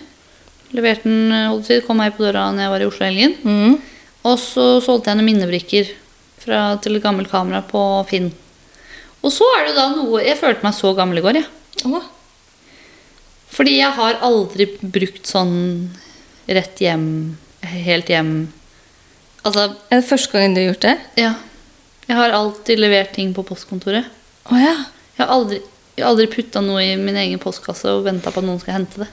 Speaker 1: Leverte den, eh, holdt jeg på å si, kom meg på døra når jeg var i Oslo i helgen.
Speaker 2: Mm.
Speaker 1: Og så solgte jeg noen minnebrikker fra, til et gammelt kamera på Finn. Og så er det da noe Jeg følte meg så gammel i går, jeg.
Speaker 2: Å,
Speaker 1: Fordi jeg har aldri brukt sånn rett hjem, helt hjem Altså,
Speaker 2: er det første gangen du har gjort det?
Speaker 1: ja. Jeg har alltid levert ting på postkontoret.
Speaker 2: Å ja.
Speaker 1: Jeg har aldri, jeg har aldri putta noe i min egen postkasse og venta på at noen skal hente det.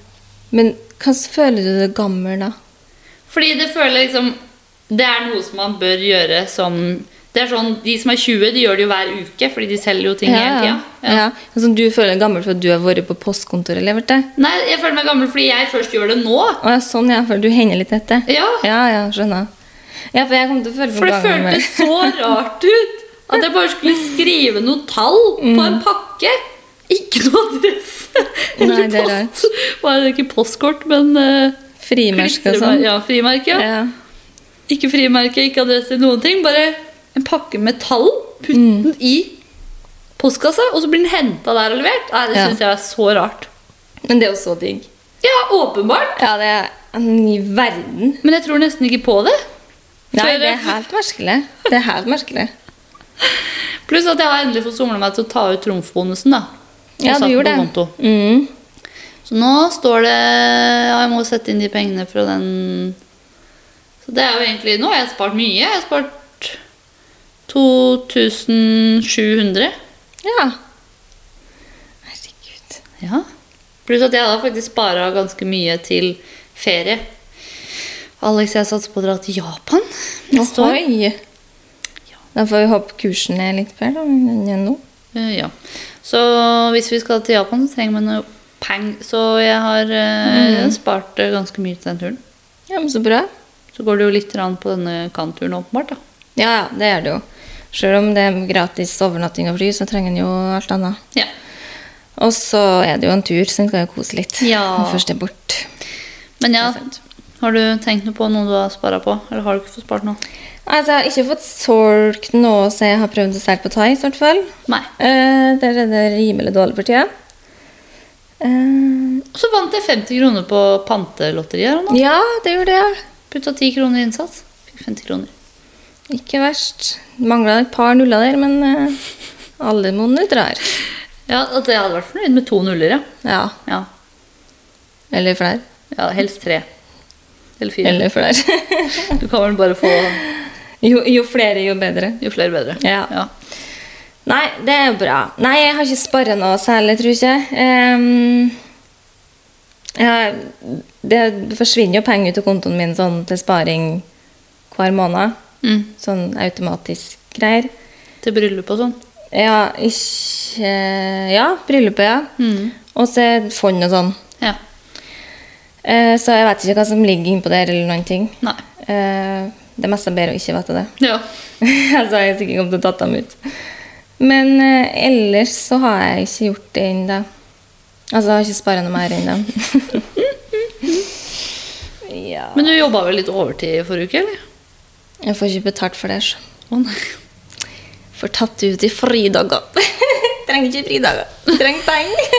Speaker 2: Men hvordan føler du deg gammel da?
Speaker 1: Fordi det føler jeg liksom Det er noe som man bør gjøre som Det er sånn, De som er 20, de gjør det jo hver uke, fordi de selger jo ting hele tida.
Speaker 2: ja. ja. Altså, du føler deg gammel fordi du har vært på postkontoret og levert det?
Speaker 1: Nei, jeg føler meg gammel fordi jeg først gjør det nå.
Speaker 2: Å ja, sånn ja, for du henger litt etter?
Speaker 1: Ja,
Speaker 2: ja, ja skjønner. Ja, for jeg kommer til å føle
Speaker 1: For
Speaker 2: meg
Speaker 1: det
Speaker 2: gammel.
Speaker 1: føltes så rart ut at jeg bare skulle skrive noe tall på en pakke. Ikke noe adresse
Speaker 2: Mm. Nei,
Speaker 1: eller
Speaker 2: det er
Speaker 1: post. Bare ikke postkort, men eh,
Speaker 2: Frimerke og
Speaker 1: klistremerke-
Speaker 2: sånn.
Speaker 1: Ja, frimerke. Ja.
Speaker 2: Ja.
Speaker 1: Ikke frimerke, ikke adresse, noen ting. Bare en pakke med tall. Putt
Speaker 2: Mm.
Speaker 1: den i postkassa, og så blir den henta der og levert. Nei, det
Speaker 2: Ja.
Speaker 1: syns jeg er så rart.
Speaker 2: Men det er jo så digg.
Speaker 1: Ja, åpenbart.
Speaker 2: Ja, det er en ny verden.
Speaker 1: Men jeg tror nesten ikke på det.
Speaker 2: Nei,
Speaker 1: For-
Speaker 2: det er helt merkelig. Det er helt merkelig.
Speaker 1: Pluss at jeg har endelig fått somla meg til å ta ut trumfbonusen. da. Og
Speaker 2: Ja,
Speaker 1: satt den
Speaker 2: du gjorde
Speaker 1: på
Speaker 2: det.
Speaker 1: konto.
Speaker 2: Mm.
Speaker 1: Så nå står det ja, Jeg må sette inn de pengene fra den Så det er jo egentlig Nå har jeg spart mye. Jeg har spart 2700.
Speaker 2: Ja. Herregud.
Speaker 1: Ja. Pluss at jeg da faktisk spara ganske mye til ferie. Alex, jeg satser på å dra til Japan neste år.
Speaker 2: Ohoi. Da får vi håpe kursen er litt bedre enn den er nå.
Speaker 1: Eh, Ja. Så hvis vi skal til Japan, så trenger vi noe peng. Så jeg har eh, spart eh, ganske mye til den turen.
Speaker 2: Ja, men så bra.
Speaker 1: Så går det jo litt rann på denne kanturen, åpenbart. da.
Speaker 2: Ja, ja, det er det jo. Selv om det er gratis overnatting og fly, så trenger en jo alt annet.
Speaker 1: Ja.
Speaker 2: Og så er det jo en tur, så en skal jo kose litt.
Speaker 1: Ja.
Speaker 2: Når først det er bort.
Speaker 1: Men ja, har du tenkt noe på noe du har spara på? Eller har du ikke fått spart noe?
Speaker 2: Altså, jeg har ikke fått solgt noe, så jeg har prøvd å selge på Thai, i hvert fall.
Speaker 1: Nei.
Speaker 2: Eh, der er det rimelig dårlig for tida. Eh,
Speaker 1: Og så vant jeg 50 kroner på pantelotteriet. her nå.
Speaker 2: ja, det gjorde jeg.
Speaker 1: Putta 10 kroner i innsats. Fikk 50 kroner.
Speaker 2: Ikke verst. Mangla et par nuller der, men eh, alle monner drar.
Speaker 1: Ja, at Jeg hadde vært fornøyd med to nuller, ja.
Speaker 2: Ja.
Speaker 1: ja.
Speaker 2: Eller flere.
Speaker 1: Ja, helst tre. Eller fire.
Speaker 2: Eller flere. *laughs*
Speaker 1: Du kan vel bare få
Speaker 2: jo, jo flere, jo bedre.
Speaker 1: jo flere bedre.
Speaker 2: Ja. Nei, det er bra. Nei, jeg har ikke sparra noe særlig, tror jeg ikke. Ehm, ja, det forsvinner jo penger ut av kontoen min sånn til sparing hver måned.
Speaker 1: Mm.
Speaker 2: Sånn automatisk greier.
Speaker 1: Til bryllup og sånn.
Speaker 2: Ja, ikke Ja, bryllupet, ja.
Speaker 1: Mm.
Speaker 2: Og så er det fond og sånn.
Speaker 1: Ja.
Speaker 2: Eh, Så jeg vet ikke hva som ligger innpå der, eller noen ting.
Speaker 1: Nei.
Speaker 2: Eh, Det meste er bedre å ikke vite det. *laughs*
Speaker 1: Ja.
Speaker 2: altså, jeg har sikkert kommet til å tatt dem ut. Men eh, ellers så har jeg ikke gjort det ennå. Altså, jeg har ikke spara noe mer ennå. *laughs* ja
Speaker 1: Men du jobba vel litt overtid forrige uke, eller?
Speaker 2: Jeg får ikke betalt for det. så.
Speaker 1: Å nei.
Speaker 2: Får tatt ut i fridager. *laughs* Trenger ikke fridager. Trenger penger.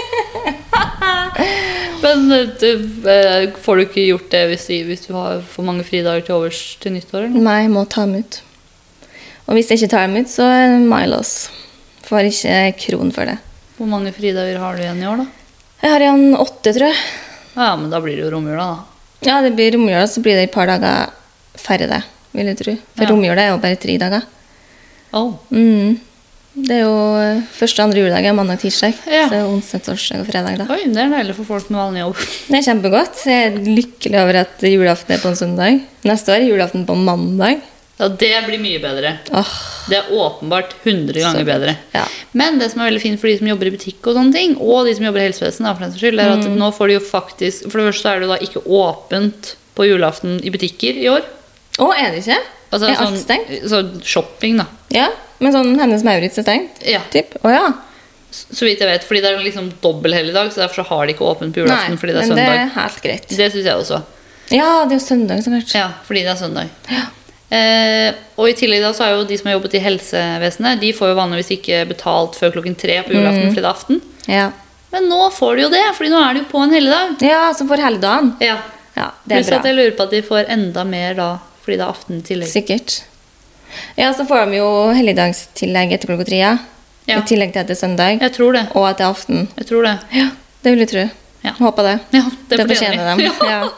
Speaker 2: *laughs*
Speaker 1: Men eh, du, eh, får du ikke gjort det hvis, du- hvis du har for mange fridager til overs til nyttår? Eller?
Speaker 2: Nei, jeg må ta dem ut. Og hvis jeg ikke tar dem ut, så er det my loss. Får ikke kron for det.
Speaker 1: Hvor mange fridager har du igjen i år, da?
Speaker 2: Jeg har igjen åtte, tror jeg.
Speaker 1: Ja, men da blir det jo romjula, da.
Speaker 2: Ja, det blir romjula, så blir det et par dager færre, det, vil jeg tro. For
Speaker 1: Ja.
Speaker 2: romjula er jo bare tre dager.
Speaker 1: Oh.
Speaker 2: Mm. Det er jo eh, første og andre juledag er mandag og tirsdag.
Speaker 1: Ja.
Speaker 2: Så er det onsdag, torsdag og fredag, da.
Speaker 1: Oi, det er deilig for folk med vanlig jobb. *laughs*
Speaker 2: Det er kjempegodt. Jeg er lykkelig over at julaften er på en søndag. Neste år er julaften på mandag.
Speaker 1: Ja, det blir mye bedre.
Speaker 2: Åh,
Speaker 1: Det er åpenbart 100 ganger
Speaker 2: Så-
Speaker 1: bedre.
Speaker 2: ja.
Speaker 1: Men det som er veldig fint for de som jobber i butikk, og sånne ting, og de som jobber i helsevesenet, da, for den saks skyld, er at
Speaker 2: Mm.
Speaker 1: nå får de jo faktisk For det første så er det jo da ikke åpent på julaften i butikker i år.
Speaker 2: Å, er det ikke?
Speaker 1: Altså,
Speaker 2: er alt
Speaker 1: sånn-
Speaker 2: stengt?
Speaker 1: sånn shopping, da.
Speaker 2: Ja. Men sånn Hennes Maurits er stengt?
Speaker 1: Ja.
Speaker 2: Typ. Å ja.
Speaker 1: Så vidt jeg vet. Fordi det er liksom dobbel helligdag, så derfor så har de ikke åpent på julaften fordi det er
Speaker 2: men det
Speaker 1: søndag.
Speaker 2: er helt greit.
Speaker 1: Det, syns jeg også.
Speaker 2: Ja, det er jo søndag, så kanskje.
Speaker 1: Ja, fordi det er søndag.
Speaker 2: Ja.
Speaker 1: Eh, og i tillegg da så er jo de som har jobbet i helsevesenet, de får jo vanligvis ikke betalt før klokken tre på julaften.
Speaker 2: Mm.
Speaker 1: fordi det er aften.
Speaker 2: Ja,
Speaker 1: Men nå får de jo det, fordi nå er det jo på en helligdag.
Speaker 2: ja så for helgedagen.
Speaker 1: Ja.
Speaker 2: Ja, det er
Speaker 1: Pluss
Speaker 2: bra.
Speaker 1: at jeg lurer på at de får enda mer da, fordi det er aften i tillegg.
Speaker 2: Sikkert. Ja, så får de jo helligdagstillegg etter klokka tre. Ja.
Speaker 1: Ja.
Speaker 2: I tillegg til at det er søndag,
Speaker 1: Jeg tror det.
Speaker 2: og at det er aften.
Speaker 1: Jeg tror det.
Speaker 2: Ja, det vil jeg tro.
Speaker 1: Ja.
Speaker 2: Håper det.
Speaker 1: Ja, det
Speaker 2: det
Speaker 1: fortjener *laughs*
Speaker 2: fortjener
Speaker 1: de.
Speaker 2: de. Ja.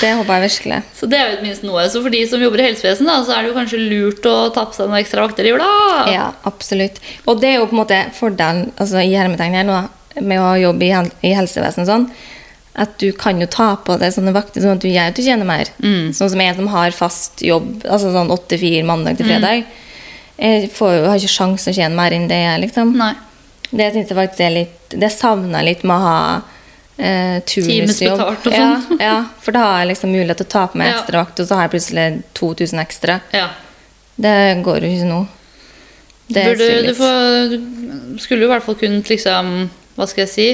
Speaker 2: Det håper jeg virkelig.
Speaker 1: Så det er jo et minst noe. Så for de som jobber i helsevesenet, da, så er det jo kanskje lurt å ta på seg noen ekstra vakter i jula.
Speaker 2: Ja, absolutt. Og det er jo på en måte fordelen altså i hermetegn her nå, da, med å jobbe i, hel i helsevesenet og sånn, at du kan jo ta på deg sånne vakter sånn at du gjør at du tjener mer.
Speaker 1: Mm.
Speaker 2: Sånn som jeg som har fast jobb, altså sånn 8-4 mandag til fredag. Jeg får jo, har ikke sjans å tjene mer enn det jeg er, liksom.
Speaker 1: Mm. Nei.
Speaker 2: Det synes jeg faktisk er litt Det savner jeg litt med å ha eh, turnusjobb.
Speaker 1: Timesbetalt og
Speaker 2: Ja,
Speaker 1: sånn.
Speaker 2: ja, for da har jeg liksom mulighet til å ta på
Speaker 1: *laughs*
Speaker 2: meg
Speaker 1: Ja.
Speaker 2: ekstra vakt, og så har jeg plutselig 2000 ekstra.
Speaker 1: Ja.
Speaker 2: Det går jo ikke nå. Det er
Speaker 1: Burde,
Speaker 2: så
Speaker 1: du,
Speaker 2: litt.
Speaker 1: får, du skulle jo i hvert fall kunnet liksom hva skal jeg si,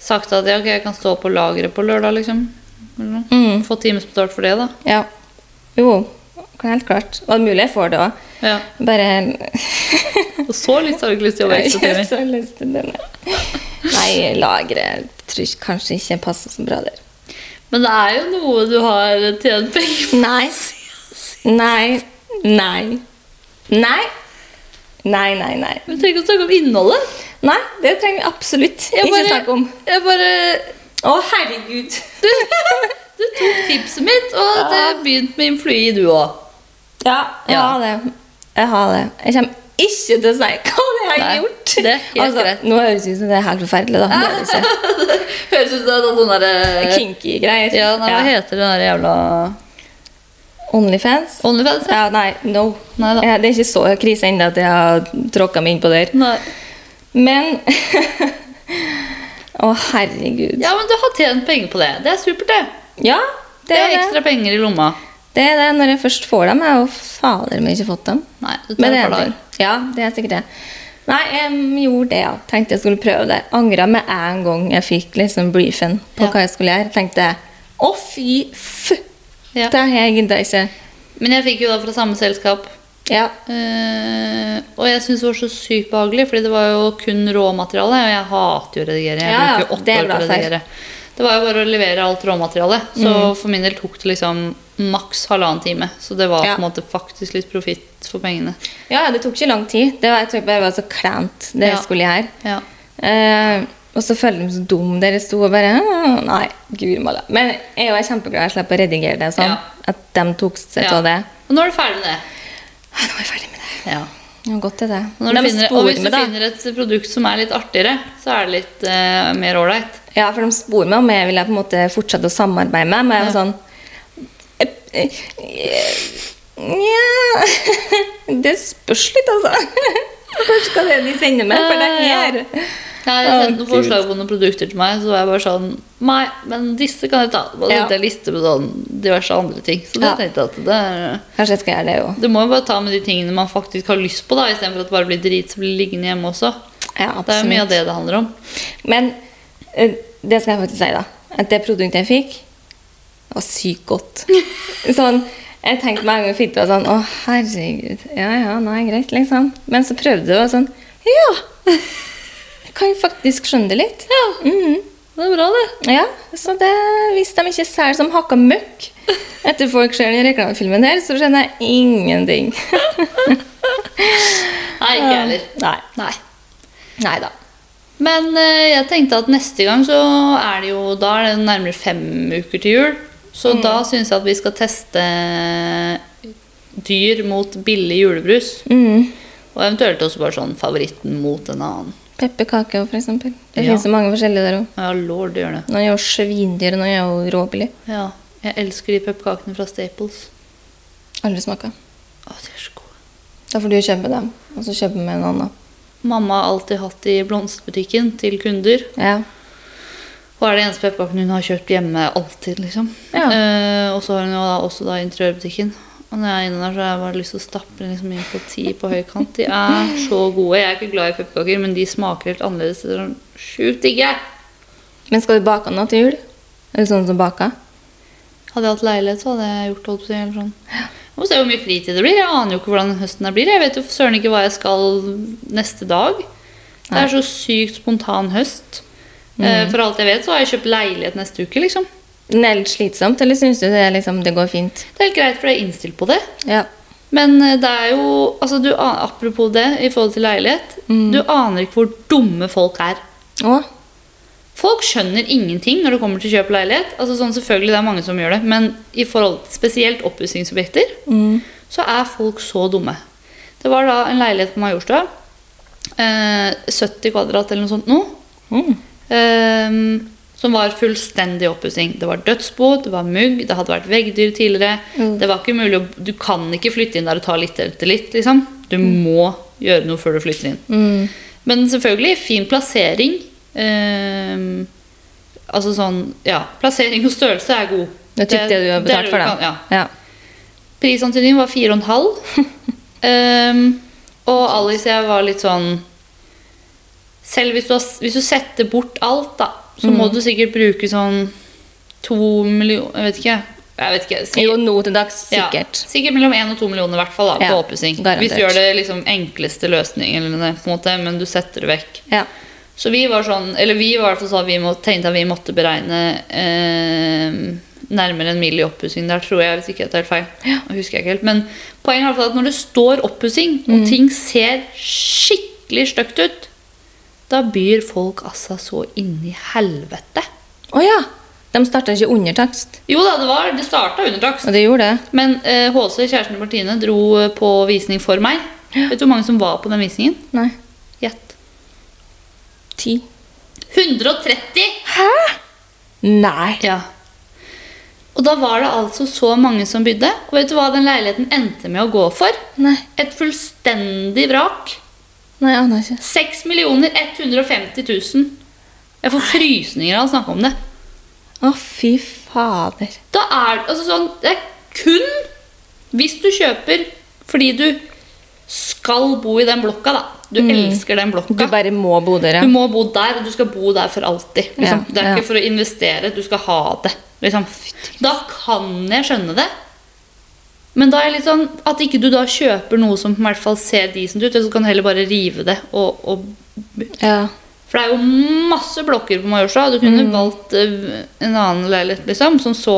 Speaker 1: sagt at ja, ok, jeg kan stå på lageret på lørdag, liksom. Eller noe.
Speaker 2: Mm.
Speaker 1: Få timesbetalt for det, da.
Speaker 2: Ja. Jo, helt klart. Og det er mulig jeg får det òg.
Speaker 1: Ja.
Speaker 2: Bare
Speaker 1: Og så litt har du ikke lyst til å jobbe
Speaker 2: Jeg *laughs*
Speaker 1: ekstra
Speaker 2: har
Speaker 1: timer.
Speaker 2: så lyst til denne. Nei, lageret tror jeg kanskje ikke passer så bra der.
Speaker 1: Men det er jo noe du har tjent penger på.
Speaker 2: Nei. Nei. Nei. Nei. Nei, nei, nei.
Speaker 1: Vi trenger ikke å snakke om innholdet.
Speaker 2: Nei, Det trenger vi absolutt
Speaker 1: Jeg
Speaker 2: ikke
Speaker 1: bare-
Speaker 2: snakke om.
Speaker 1: Jeg bare
Speaker 2: Å, herregud!
Speaker 1: du, du tok tipset mitt, og det begynte med influi, du òg.
Speaker 2: Ja, jeg
Speaker 1: Ja.
Speaker 2: har det. Jeg har det. Jeg kommer ikke til å si hva jeg har
Speaker 1: Nei,
Speaker 2: gjort.
Speaker 1: det er helt
Speaker 2: altså,
Speaker 1: greit.
Speaker 2: Nå høres det ut som det er helt forferdelig, da. Det er
Speaker 1: *laughs*
Speaker 2: det ikke.
Speaker 1: Høres ut som det er noe sånn derre
Speaker 2: Kinky greier.
Speaker 1: Ja, nei, hva heter den der jævla
Speaker 2: Onlyfans?
Speaker 1: Onlyfans? Ja.
Speaker 2: Ja, nei, no.
Speaker 1: Nei da.
Speaker 2: Ja, det er ikke så krise ennå at jeg har tråkka meg inn på der.
Speaker 1: Nei.
Speaker 2: Men *laughs* Å, herregud.
Speaker 1: ja, men du har tjent penger på det. Det er supert, det.
Speaker 2: Ja, det er det.
Speaker 1: ekstra penger i lomma.
Speaker 2: Det er det når jeg først får dem. Jeg har jo fader meg ikke fått dem.
Speaker 1: Nei, det tar
Speaker 2: Men
Speaker 1: et
Speaker 2: det er
Speaker 1: par
Speaker 2: en ting.
Speaker 1: dager.
Speaker 2: Ja, det er sikkert det. Nei, jeg gjorde det, ja. Tenkte jeg skulle prøve det. Angra med en gang jeg fikk liksom briefen på
Speaker 1: Ja.
Speaker 2: hva jeg skulle gjøre. Tenkte jeg å, fy f...
Speaker 1: Ja.
Speaker 2: Det har jeg gidda ikke.
Speaker 1: Men jeg fikk jo da fra samme selskap.
Speaker 2: Ja.
Speaker 1: Eh, og jeg syns det var så sykt behagelig, fordi det var jo kun råmateriale. Og jeg hater jo å redigere. Jeg
Speaker 2: Ja, ja,
Speaker 1: bruker jo
Speaker 2: det
Speaker 1: åtte
Speaker 2: er
Speaker 1: år på å
Speaker 2: bra feil.
Speaker 1: redigere. Det var jo bare å levere alt råmaterialet. Så
Speaker 2: Mm.
Speaker 1: for min del tok det liksom maks halvannen time. Så det var
Speaker 2: Ja.
Speaker 1: på en måte faktisk litt profitt for pengene.
Speaker 2: ja, det tok ikke lang tid. Det var, jeg tror bare det var så kleint, det
Speaker 1: Ja.
Speaker 2: jeg skulle gjøre.
Speaker 1: Ja.
Speaker 2: Eh, og så følte de meg så dum dere sto og bare «Åh, Nei, guri malla. Men jeg var kjempeglad jeg slapp å redigere det sånn.
Speaker 1: Ja.
Speaker 2: At de tok seg
Speaker 1: Ja.
Speaker 2: av det.
Speaker 1: Og nå er du ferdig med det.
Speaker 2: Ah, Nå er jeg ferdig med det.
Speaker 1: Ja.
Speaker 2: Ja, godt er det.
Speaker 1: Og, når du
Speaker 2: De
Speaker 1: finner,
Speaker 2: sporer
Speaker 1: og hvis du
Speaker 2: meg, da.
Speaker 1: finner et produkt som er litt artigere, så er det litt eh, mer ålreit.
Speaker 2: Ja, for de spor meg om jeg ville på en måte fortsette å samarbeide med. Men jeg var sånn eh, eh, eh, Nja *laughs* Det spørs litt, altså. *laughs* Hvor skal det de sende meg? For det
Speaker 1: Jeg
Speaker 2: her Å,
Speaker 1: sendte noen
Speaker 2: Gud.
Speaker 1: forslag på noen produkter til meg, så var jeg bare sånn Nei, men disse kan jeg ta. Og da
Speaker 2: Ja.
Speaker 1: tenkte jeg liste på sånn diverse andre ting. Så da
Speaker 2: Ja.
Speaker 1: tenkte jeg at det er
Speaker 2: Kanskje jeg skal gjøre det jo
Speaker 1: Du må jo bare ta med de tingene man faktisk har lyst på, da, istedenfor at det bare blir drit som blir liggende hjemme også.
Speaker 2: Ja,
Speaker 1: Det er jo mye
Speaker 2: absolutt.
Speaker 1: av det det handler om.
Speaker 2: Men eh, det skal jeg faktisk si, da. At det produktet jeg fikk, var sykt
Speaker 1: *laughs*
Speaker 2: godt. sånn, jeg tenkte meg en gang jeg fikk det, og sånn Å, herregud. Ja ja, nei, greit, liksom. Men så prøvde jeg, og sånn Ja! Jeg kan faktisk skjønne det litt.
Speaker 1: Ja,
Speaker 2: Mhm.
Speaker 1: det er bra, det.
Speaker 2: Ja, så det, Hvis de ikke selger som hakka møkk etter folk ser den reklamefilmen her, så skjønner jeg ingenting.
Speaker 1: Nei, ikke jeg heller.
Speaker 2: Nei.
Speaker 1: Nei.
Speaker 2: Nei da.
Speaker 1: Men eh, jeg tenkte at neste gang så er det jo Da er det nærmere fem uker til jul. Så da syns jeg at vi skal teste eh, dyr mot billig julebrus.
Speaker 2: Mm.
Speaker 1: Og eventuelt også bare sånn favoritten mot en annen.
Speaker 2: Pepperkaker, for eksempel. Det
Speaker 1: Ja.
Speaker 2: finnes så mange forskjellige der òg.
Speaker 1: Ja, lord det gjør det.
Speaker 2: Noen er jo svindyr, noen er jo råbillig.
Speaker 1: Ja, jeg elsker de pepperkakene fra Staples.
Speaker 2: Aldri smaka.
Speaker 1: Å, de er så gode.
Speaker 2: Da får du kjøpe dem, og så kjøpe med en annen.
Speaker 1: Mamma har alltid hatt de i blomsterbutikken til kunder.
Speaker 2: Ja.
Speaker 1: Og er det eneste pepperkaken hun har kjøpt hjemme alltid, liksom.
Speaker 2: Ja.
Speaker 1: Eh, og så har hun jo da, også da interiørbutikken. Og når jeg er inne der, så har jeg bare lyst til å stappe den liksom inn på ti på høykant. De er så gode. Jeg er ikke glad i pepperkaker, men de smaker helt annerledes. Det er sånn sjukt digge.
Speaker 2: Men skal du bake noe til jul? Er du sånn som baker?
Speaker 1: Hadde jeg hatt leilighet, så hadde jeg gjort holdt på å si, eller sånn. Jeg må se hvor mye fritid det blir. Jeg aner jo ikke hvordan høsten her blir. Jeg vet jo for søren ikke hva jeg skal neste dag. Det
Speaker 2: Nei.
Speaker 1: er så sykt spontan høst. Eh, For alt jeg vet, så har jeg kjøpt leilighet neste uke, liksom.
Speaker 2: Men er det litt slitsomt, eller syns du det, er liksom, det går fint?
Speaker 1: Det er helt greit, for jeg er innstilt på det.
Speaker 2: Ja.
Speaker 1: Men eh, det er jo altså du, an- Apropos det i forhold til leilighet. Du aner ikke hvor dumme folk er.
Speaker 2: Å?
Speaker 1: Folk skjønner ingenting når det kommer til kjøp av leilighet. Altså sånn selvfølgelig det er mange som gjør det, Men i forhold til spesielt oppussingsobjekter så er folk så dumme. Det var da en leilighet på Majorstua. Eh, 70 kvadrat eller noe sånt nå.
Speaker 2: Mm.
Speaker 1: Ehm, som var fullstendig oppussing. Det var dødsbo, det var mugg, det hadde vært veggdyr tidligere.
Speaker 2: Mm.
Speaker 1: Det var ikke mulig å, Du kan ikke flytte inn der og ta litt etter litt. Liksom. Du
Speaker 2: Mm.
Speaker 1: må gjøre noe før du flytter inn. Men selvfølgelig, fin plassering. ehm, altså sånn Ja, plassering og størrelse er god.
Speaker 2: Det er typ det du
Speaker 1: det
Speaker 2: har
Speaker 1: er
Speaker 2: betalt
Speaker 1: det
Speaker 2: for,
Speaker 1: du
Speaker 2: da.
Speaker 1: kan- Ja.
Speaker 2: Ja.
Speaker 1: Prisantydningen var
Speaker 2: *laughs*
Speaker 1: Ehm, 4,5. um, og Alice og jeg var litt sånn Selv hvis du, har, hvis du setter bort alt, da, så må
Speaker 2: Mm.
Speaker 1: du sikkert bruke sånn to millioner Jeg vet ikke. Jeg vet ikke. si-
Speaker 2: Jo, nå til dags,
Speaker 1: ja,
Speaker 2: sikkert.
Speaker 1: sikkert mellom 1 og 2 millioner i hvert fall, da, på
Speaker 2: Ja,
Speaker 1: oppussing.
Speaker 2: garantert.
Speaker 1: Hvis du gjør det liksom enkleste løsningen, på en måte, men du setter det vekk.
Speaker 2: Ja.
Speaker 1: Så vi var sånn, eller vi var sånn, at vi må, tenkte at vi måtte beregne eh, nærmere en mil i oppussing der, tror jeg, hvis ikke jeg tar helt feil. Jeg husker ikke helt. Men poenget er i hvert fall at når det står oppussing, og ting ser skikkelig stygt ut, da byr folk altså så inn i helvete.
Speaker 2: Å ja! De starta ikke under takst.
Speaker 1: Jo da, det var, det starta under takst.
Speaker 2: Og det gjorde det.
Speaker 1: Men eh, HC, kjæresten til Martine, dro eh, på visning for meg. Vet du hvor mange som var på den visningen?
Speaker 2: Nei.
Speaker 1: Gjett.
Speaker 2: Ti.
Speaker 1: 130!
Speaker 2: Nei.
Speaker 1: Ja. Og da var det altså så mange som bydde. Og vet du hva den leiligheten endte med å gå for?
Speaker 2: Nei,
Speaker 1: Et fullstendig vrak.
Speaker 2: Nei jeg aner ikke.
Speaker 1: 6 150 000. Jeg får frysninger av å snakke om det.
Speaker 2: Å, fy fader.
Speaker 1: Da er altså sånn, det er kun hvis du kjøper fordi du skal bo i den blokka, da. Du elsker den blokka.
Speaker 2: Du bare må bo der, ja.
Speaker 1: Du må bo der, og du skal bo der for alltid. Liksom.
Speaker 2: Ja,
Speaker 1: det er
Speaker 2: ja.
Speaker 1: ikke for å investere, du skal ha det. Liksom. Da kan jeg skjønne det. Men da er jeg litt sånn at ikke du da kjøper noe som i hvert fall ser decent ut, eller så kan du heller bare rive det. Og, og...
Speaker 2: ja.
Speaker 1: For det er jo masse blokker på Majorstua. Du kunne
Speaker 2: Mm.
Speaker 1: valgt eh, en annen leilighet liksom, som så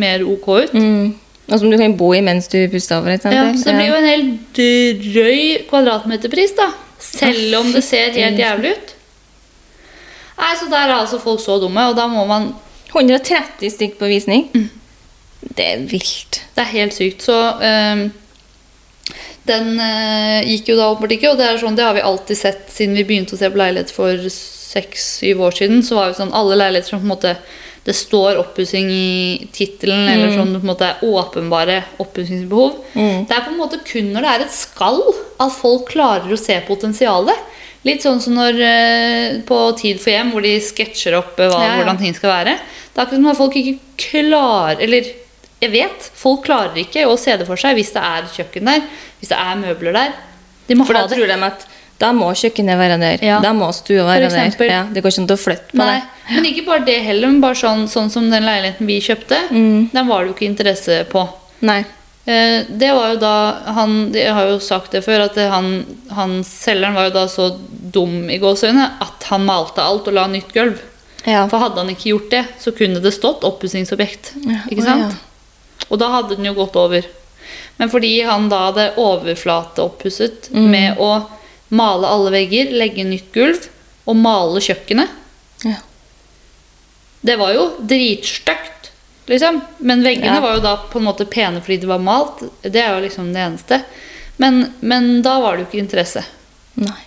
Speaker 1: mer ok ut.
Speaker 2: Mm. Og som du kan bo i mens du puster over. Et
Speaker 1: Ja, så det blir jo en helt drøy kvadratmeterpris, da. Selv om det ser helt jævlig ut. Nei, så der er altså folk så dumme, og da må man
Speaker 2: 130 stykk på visning.
Speaker 1: Mm.
Speaker 2: Det er vilt.
Speaker 1: Det er helt sykt. Så ehm, den eh, gikk jo da åpenbart ikke, og det er sånn, det har vi alltid sett siden vi begynte å se på leilighet for seks-syv år siden. Så var jo sånn alle leiligheter som på en måte det står oppussing i tittelen,
Speaker 2: Mm.
Speaker 1: eller sånn på en måte er åpenbare oppussingsbehov. Det er på en måte kun når det er et skall at folk klarer å se potensialet. Litt sånn som når eh, på Tid for hjem, hvor de sketsjer opp eh, hva,
Speaker 2: Ja, ja.
Speaker 1: hvordan ting skal være. Det er akkurat som at folk ikke klarer Eller jeg vet, folk klarer ikke å se det for seg hvis det er kjøkken der, hvis det er møbler der. De må
Speaker 2: For da
Speaker 1: ha det.
Speaker 2: tror de at da må kjøkkenet være der,
Speaker 1: Ja.
Speaker 2: da må stua være der.
Speaker 1: eksempel.
Speaker 2: Ja, det går ikke an å flytte på
Speaker 1: Nei, men ikke bare det heller, men bare sånn, sånn som den leiligheten vi kjøpte.
Speaker 2: Mm.
Speaker 1: Den var det jo ikke interesse på.
Speaker 2: det. Nei.
Speaker 1: Eh, Det var jo da han, Jeg har jo sagt det før, at det han, han selgeren var jo da så dum i gåseøyne at han malte alt og la nytt gulv.
Speaker 2: Ja.
Speaker 1: For hadde han ikke gjort det, så kunne det stått oppussingsobjekt.
Speaker 2: Ja,
Speaker 1: Ikke
Speaker 2: å,
Speaker 1: sant? Og da hadde den jo gått over. Men fordi han da hadde overflateoppusset
Speaker 2: Mm.
Speaker 1: med å male alle vegger, legge nytt gulv og male kjøkkenet
Speaker 2: Ja.
Speaker 1: Det var jo dritstygt, liksom. Men veggene
Speaker 2: Ja.
Speaker 1: var jo da på en måte pene fordi det var malt. Det er jo liksom det eneste. Men, men da var det jo ikke interesse.
Speaker 2: Nei.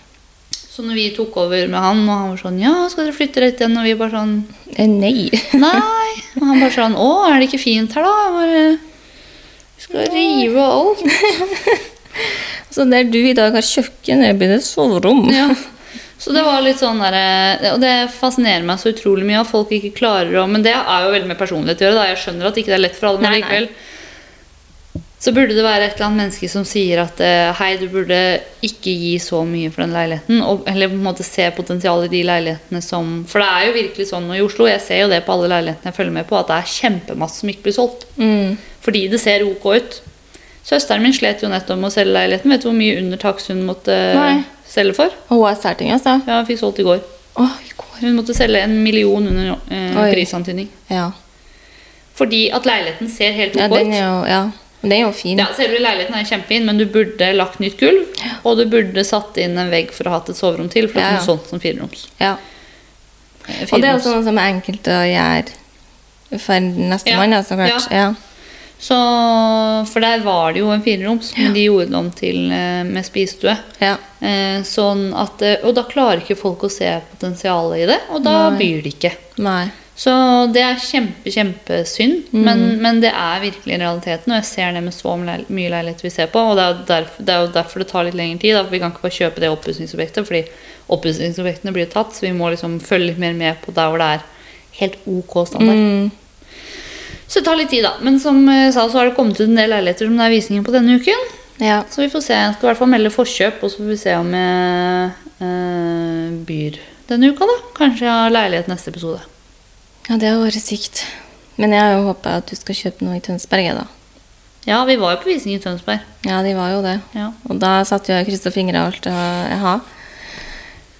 Speaker 1: Så når vi tok over med han, og han var sånn Ja, skal dere flytte rett igjen? Og vi bare sånn
Speaker 2: Eh, Nei.
Speaker 1: Nei. Og han bare sånn Å, er det ikke fint her, da? Jeg bare, vi *laughs* skal rive alt.
Speaker 2: *laughs* Så der du i dag har kjøkken, der blir det soverom.
Speaker 1: Ja. Så det var litt sånn derre Og det fascinerer meg så utrolig mye at folk ikke klarer å Men det er jo veldig med personlighet å gjøre. da Jeg skjønner at ikke det er lett for alle, men
Speaker 2: Nei, nei.
Speaker 1: likevel så burde det være et eller annet menneske som sier at eh, hei, du burde ikke gi så mye for den leiligheten, og, eller på en måte se potensialet i de leilighetene som For det er jo virkelig sånn nå i Oslo, jeg ser jo det på alle leilighetene jeg følger med på, at det er kjempemasse som ikke blir solgt.
Speaker 2: Mm.
Speaker 1: Fordi det ser ok ut. Søsteren min slet jo nettopp med å selge leiligheten. Vet du hvor mye under takst hun måtte
Speaker 2: Nei.
Speaker 1: selge for?
Speaker 2: Og hun er særting, altså.
Speaker 1: Ja, hun fikk solgt i går.
Speaker 2: Å, i går.
Speaker 1: Hun måtte selge en million under eh,
Speaker 2: Oi.
Speaker 1: prisantydning.
Speaker 2: Ja.
Speaker 1: Fordi at leiligheten ser helt ok
Speaker 2: ja, den
Speaker 1: ut.
Speaker 2: er jo, ja. Men den er jo fin.
Speaker 1: Ja, Selve leiligheten er kjempefin, men du burde lagt nytt gulv. Og du burde satt inn en vegg for å ha hatt et soverom til. For at
Speaker 2: Ja,
Speaker 1: hun
Speaker 2: ja.
Speaker 1: solgte som fireroms.
Speaker 2: Ja.
Speaker 1: Eh,
Speaker 2: Og det er jo
Speaker 1: fireroms.
Speaker 2: sånn som er enkelt å gjøre for
Speaker 1: Ja.
Speaker 2: nestemann, ja. så klart. Ja.
Speaker 1: Så, for der var det jo en fireroms, men de gjorde det om til eh, med spisestue.
Speaker 2: Ja.
Speaker 1: Eh, sånn at, eh, og da klarer ikke folk å se potensialet i det, og da
Speaker 2: Nei.
Speaker 1: byr de ikke.
Speaker 2: Nei.
Speaker 1: Så det er kjempe, kjempesynd, men, men det er virkelig realiteten. Og jeg ser det med så leil- mye leiligheter vi ser på, og det er, jo derfor, det er jo derfor det tar litt lengre tid. Da, for vi kan ikke bare kjøpe det oppussingsobjektet, fordi oppussingsobjektene blir jo tatt, så vi må liksom følge litt mer med på der hvor det er helt ok standard.
Speaker 2: Mm.
Speaker 1: Så det tar litt tid, da. Men som jeg sa, så har det kommet ut en del leiligheter som det er visninger på denne uken.
Speaker 2: Ja.
Speaker 1: Så vi får se. Jeg skal i hvert fall melde forkjøp, og så får vi se om jeg eh, byr denne uka, da. Kanskje jeg har leilighet neste episode.
Speaker 2: Ja, det har vært sykt. Men jeg har jo håpa at du skal kjøpe noe i Tønsberg, jeg, da.
Speaker 1: Ja, vi var jo på visning i Tønsberg.
Speaker 2: Ja, de var jo det.
Speaker 1: Ja.
Speaker 2: Og da satt jo jeg og kryssa fingra alt og- jeg har.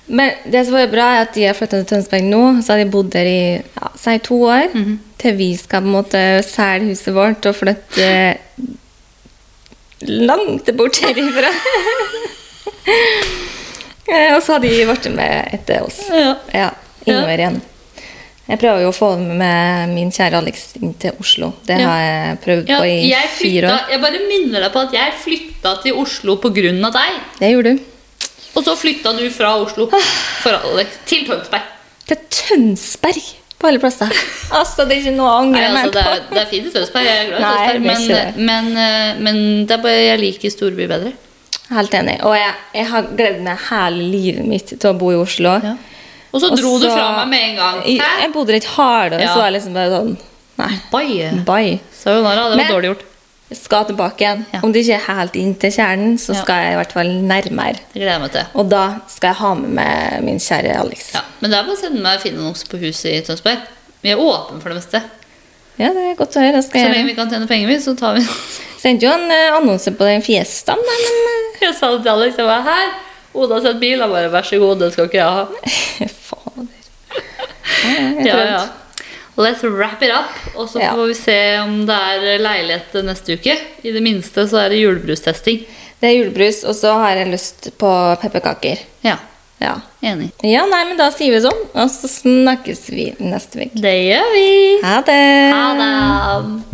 Speaker 2: Men det som var bra, er at de har flytta til Tønsberg nå. Så har de bodd der i ja, si to år.
Speaker 1: Mhm.
Speaker 2: Til vi skal på en måte selge huset vårt og flytte eh, langt bort herifra. *laughs* Eh, og så har de blitt med etter oss.
Speaker 1: Ja.
Speaker 2: Ja, innover igjen. Jeg prøver jo å få med min kjære Alex inn til Oslo. Det
Speaker 1: Ja.
Speaker 2: har jeg prøvd
Speaker 1: Ja,
Speaker 2: på i
Speaker 1: jeg,
Speaker 2: fire
Speaker 1: flytta,
Speaker 2: år.
Speaker 1: jeg bare minner deg på at jeg flytta til Oslo pga. deg.
Speaker 2: Det gjorde du.
Speaker 1: Og så flytta du fra Oslo
Speaker 2: Ah.
Speaker 1: for Alex, til Tønsberg.
Speaker 2: Til Tønsberg på alle plasser. *laughs* Altså, det er ikke noe å angre
Speaker 1: Nei, altså, det, er,
Speaker 2: meg på.
Speaker 1: det er fint i Tønsberg, jeg er glad i
Speaker 2: Nei, det er ikke
Speaker 1: Tønsberg,
Speaker 2: det.
Speaker 1: men, men, eh, men det er bare, jeg liker storby bedre.
Speaker 2: Helt enig. Og jeg, jeg har gledet meg hele livet mitt til å bo i Oslo.
Speaker 1: Og så
Speaker 2: Og
Speaker 1: dro du
Speaker 2: så-
Speaker 1: fra meg med en gang.
Speaker 2: Jeg,
Speaker 1: Hæ?
Speaker 2: jeg bodde der et halvår,
Speaker 1: Ja.
Speaker 2: så var jeg liksom bare sånn Nei,
Speaker 1: Bye.
Speaker 2: bye.
Speaker 1: Sayonara, det var
Speaker 2: Men-
Speaker 1: dårlig gjort.
Speaker 2: Jeg skal tilbake igjen.
Speaker 1: Ja.
Speaker 2: Om det ikke er helt inn til kjernen, så
Speaker 1: Ja.
Speaker 2: skal jeg i hvert fall nærmere.
Speaker 1: Det gleder jeg meg til.
Speaker 2: Og da skal jeg ha med meg min kjære Alex.
Speaker 1: Ja, men det er bare å sende meg fin annonse på huset i Tønsberg. Vi er åpne for det meste.
Speaker 2: Ja, det er godt å høre. Det
Speaker 1: Så
Speaker 2: skal jeg
Speaker 1: lenge
Speaker 2: gjøre.
Speaker 1: vi kan tjene penger, vi, så tar vi
Speaker 2: Sendte jo en eh, annonse på den fiestaen, da, men
Speaker 1: *laughs* Jeg sa det til Alex, jeg var her. Oda har sett bil, han bare vær så god, den skal ikke jeg ha.
Speaker 2: eh, *laughs* Fader. Ja, ja, jeg
Speaker 1: Ja,
Speaker 2: prøvde.
Speaker 1: ja. Let's wrap it up, og så
Speaker 2: Ja.
Speaker 1: får vi se om det er leilighet neste uke. I det minste så er det julebrustesting.
Speaker 2: Det er julebrus, og så har jeg lyst på pepperkaker.
Speaker 1: Ja,
Speaker 2: Ja.
Speaker 1: enig.
Speaker 2: ja, nei, men da sier vi sånn, og så snakkes vi neste uke.
Speaker 1: Det gjør vi.
Speaker 2: Ha det!
Speaker 1: Ha det.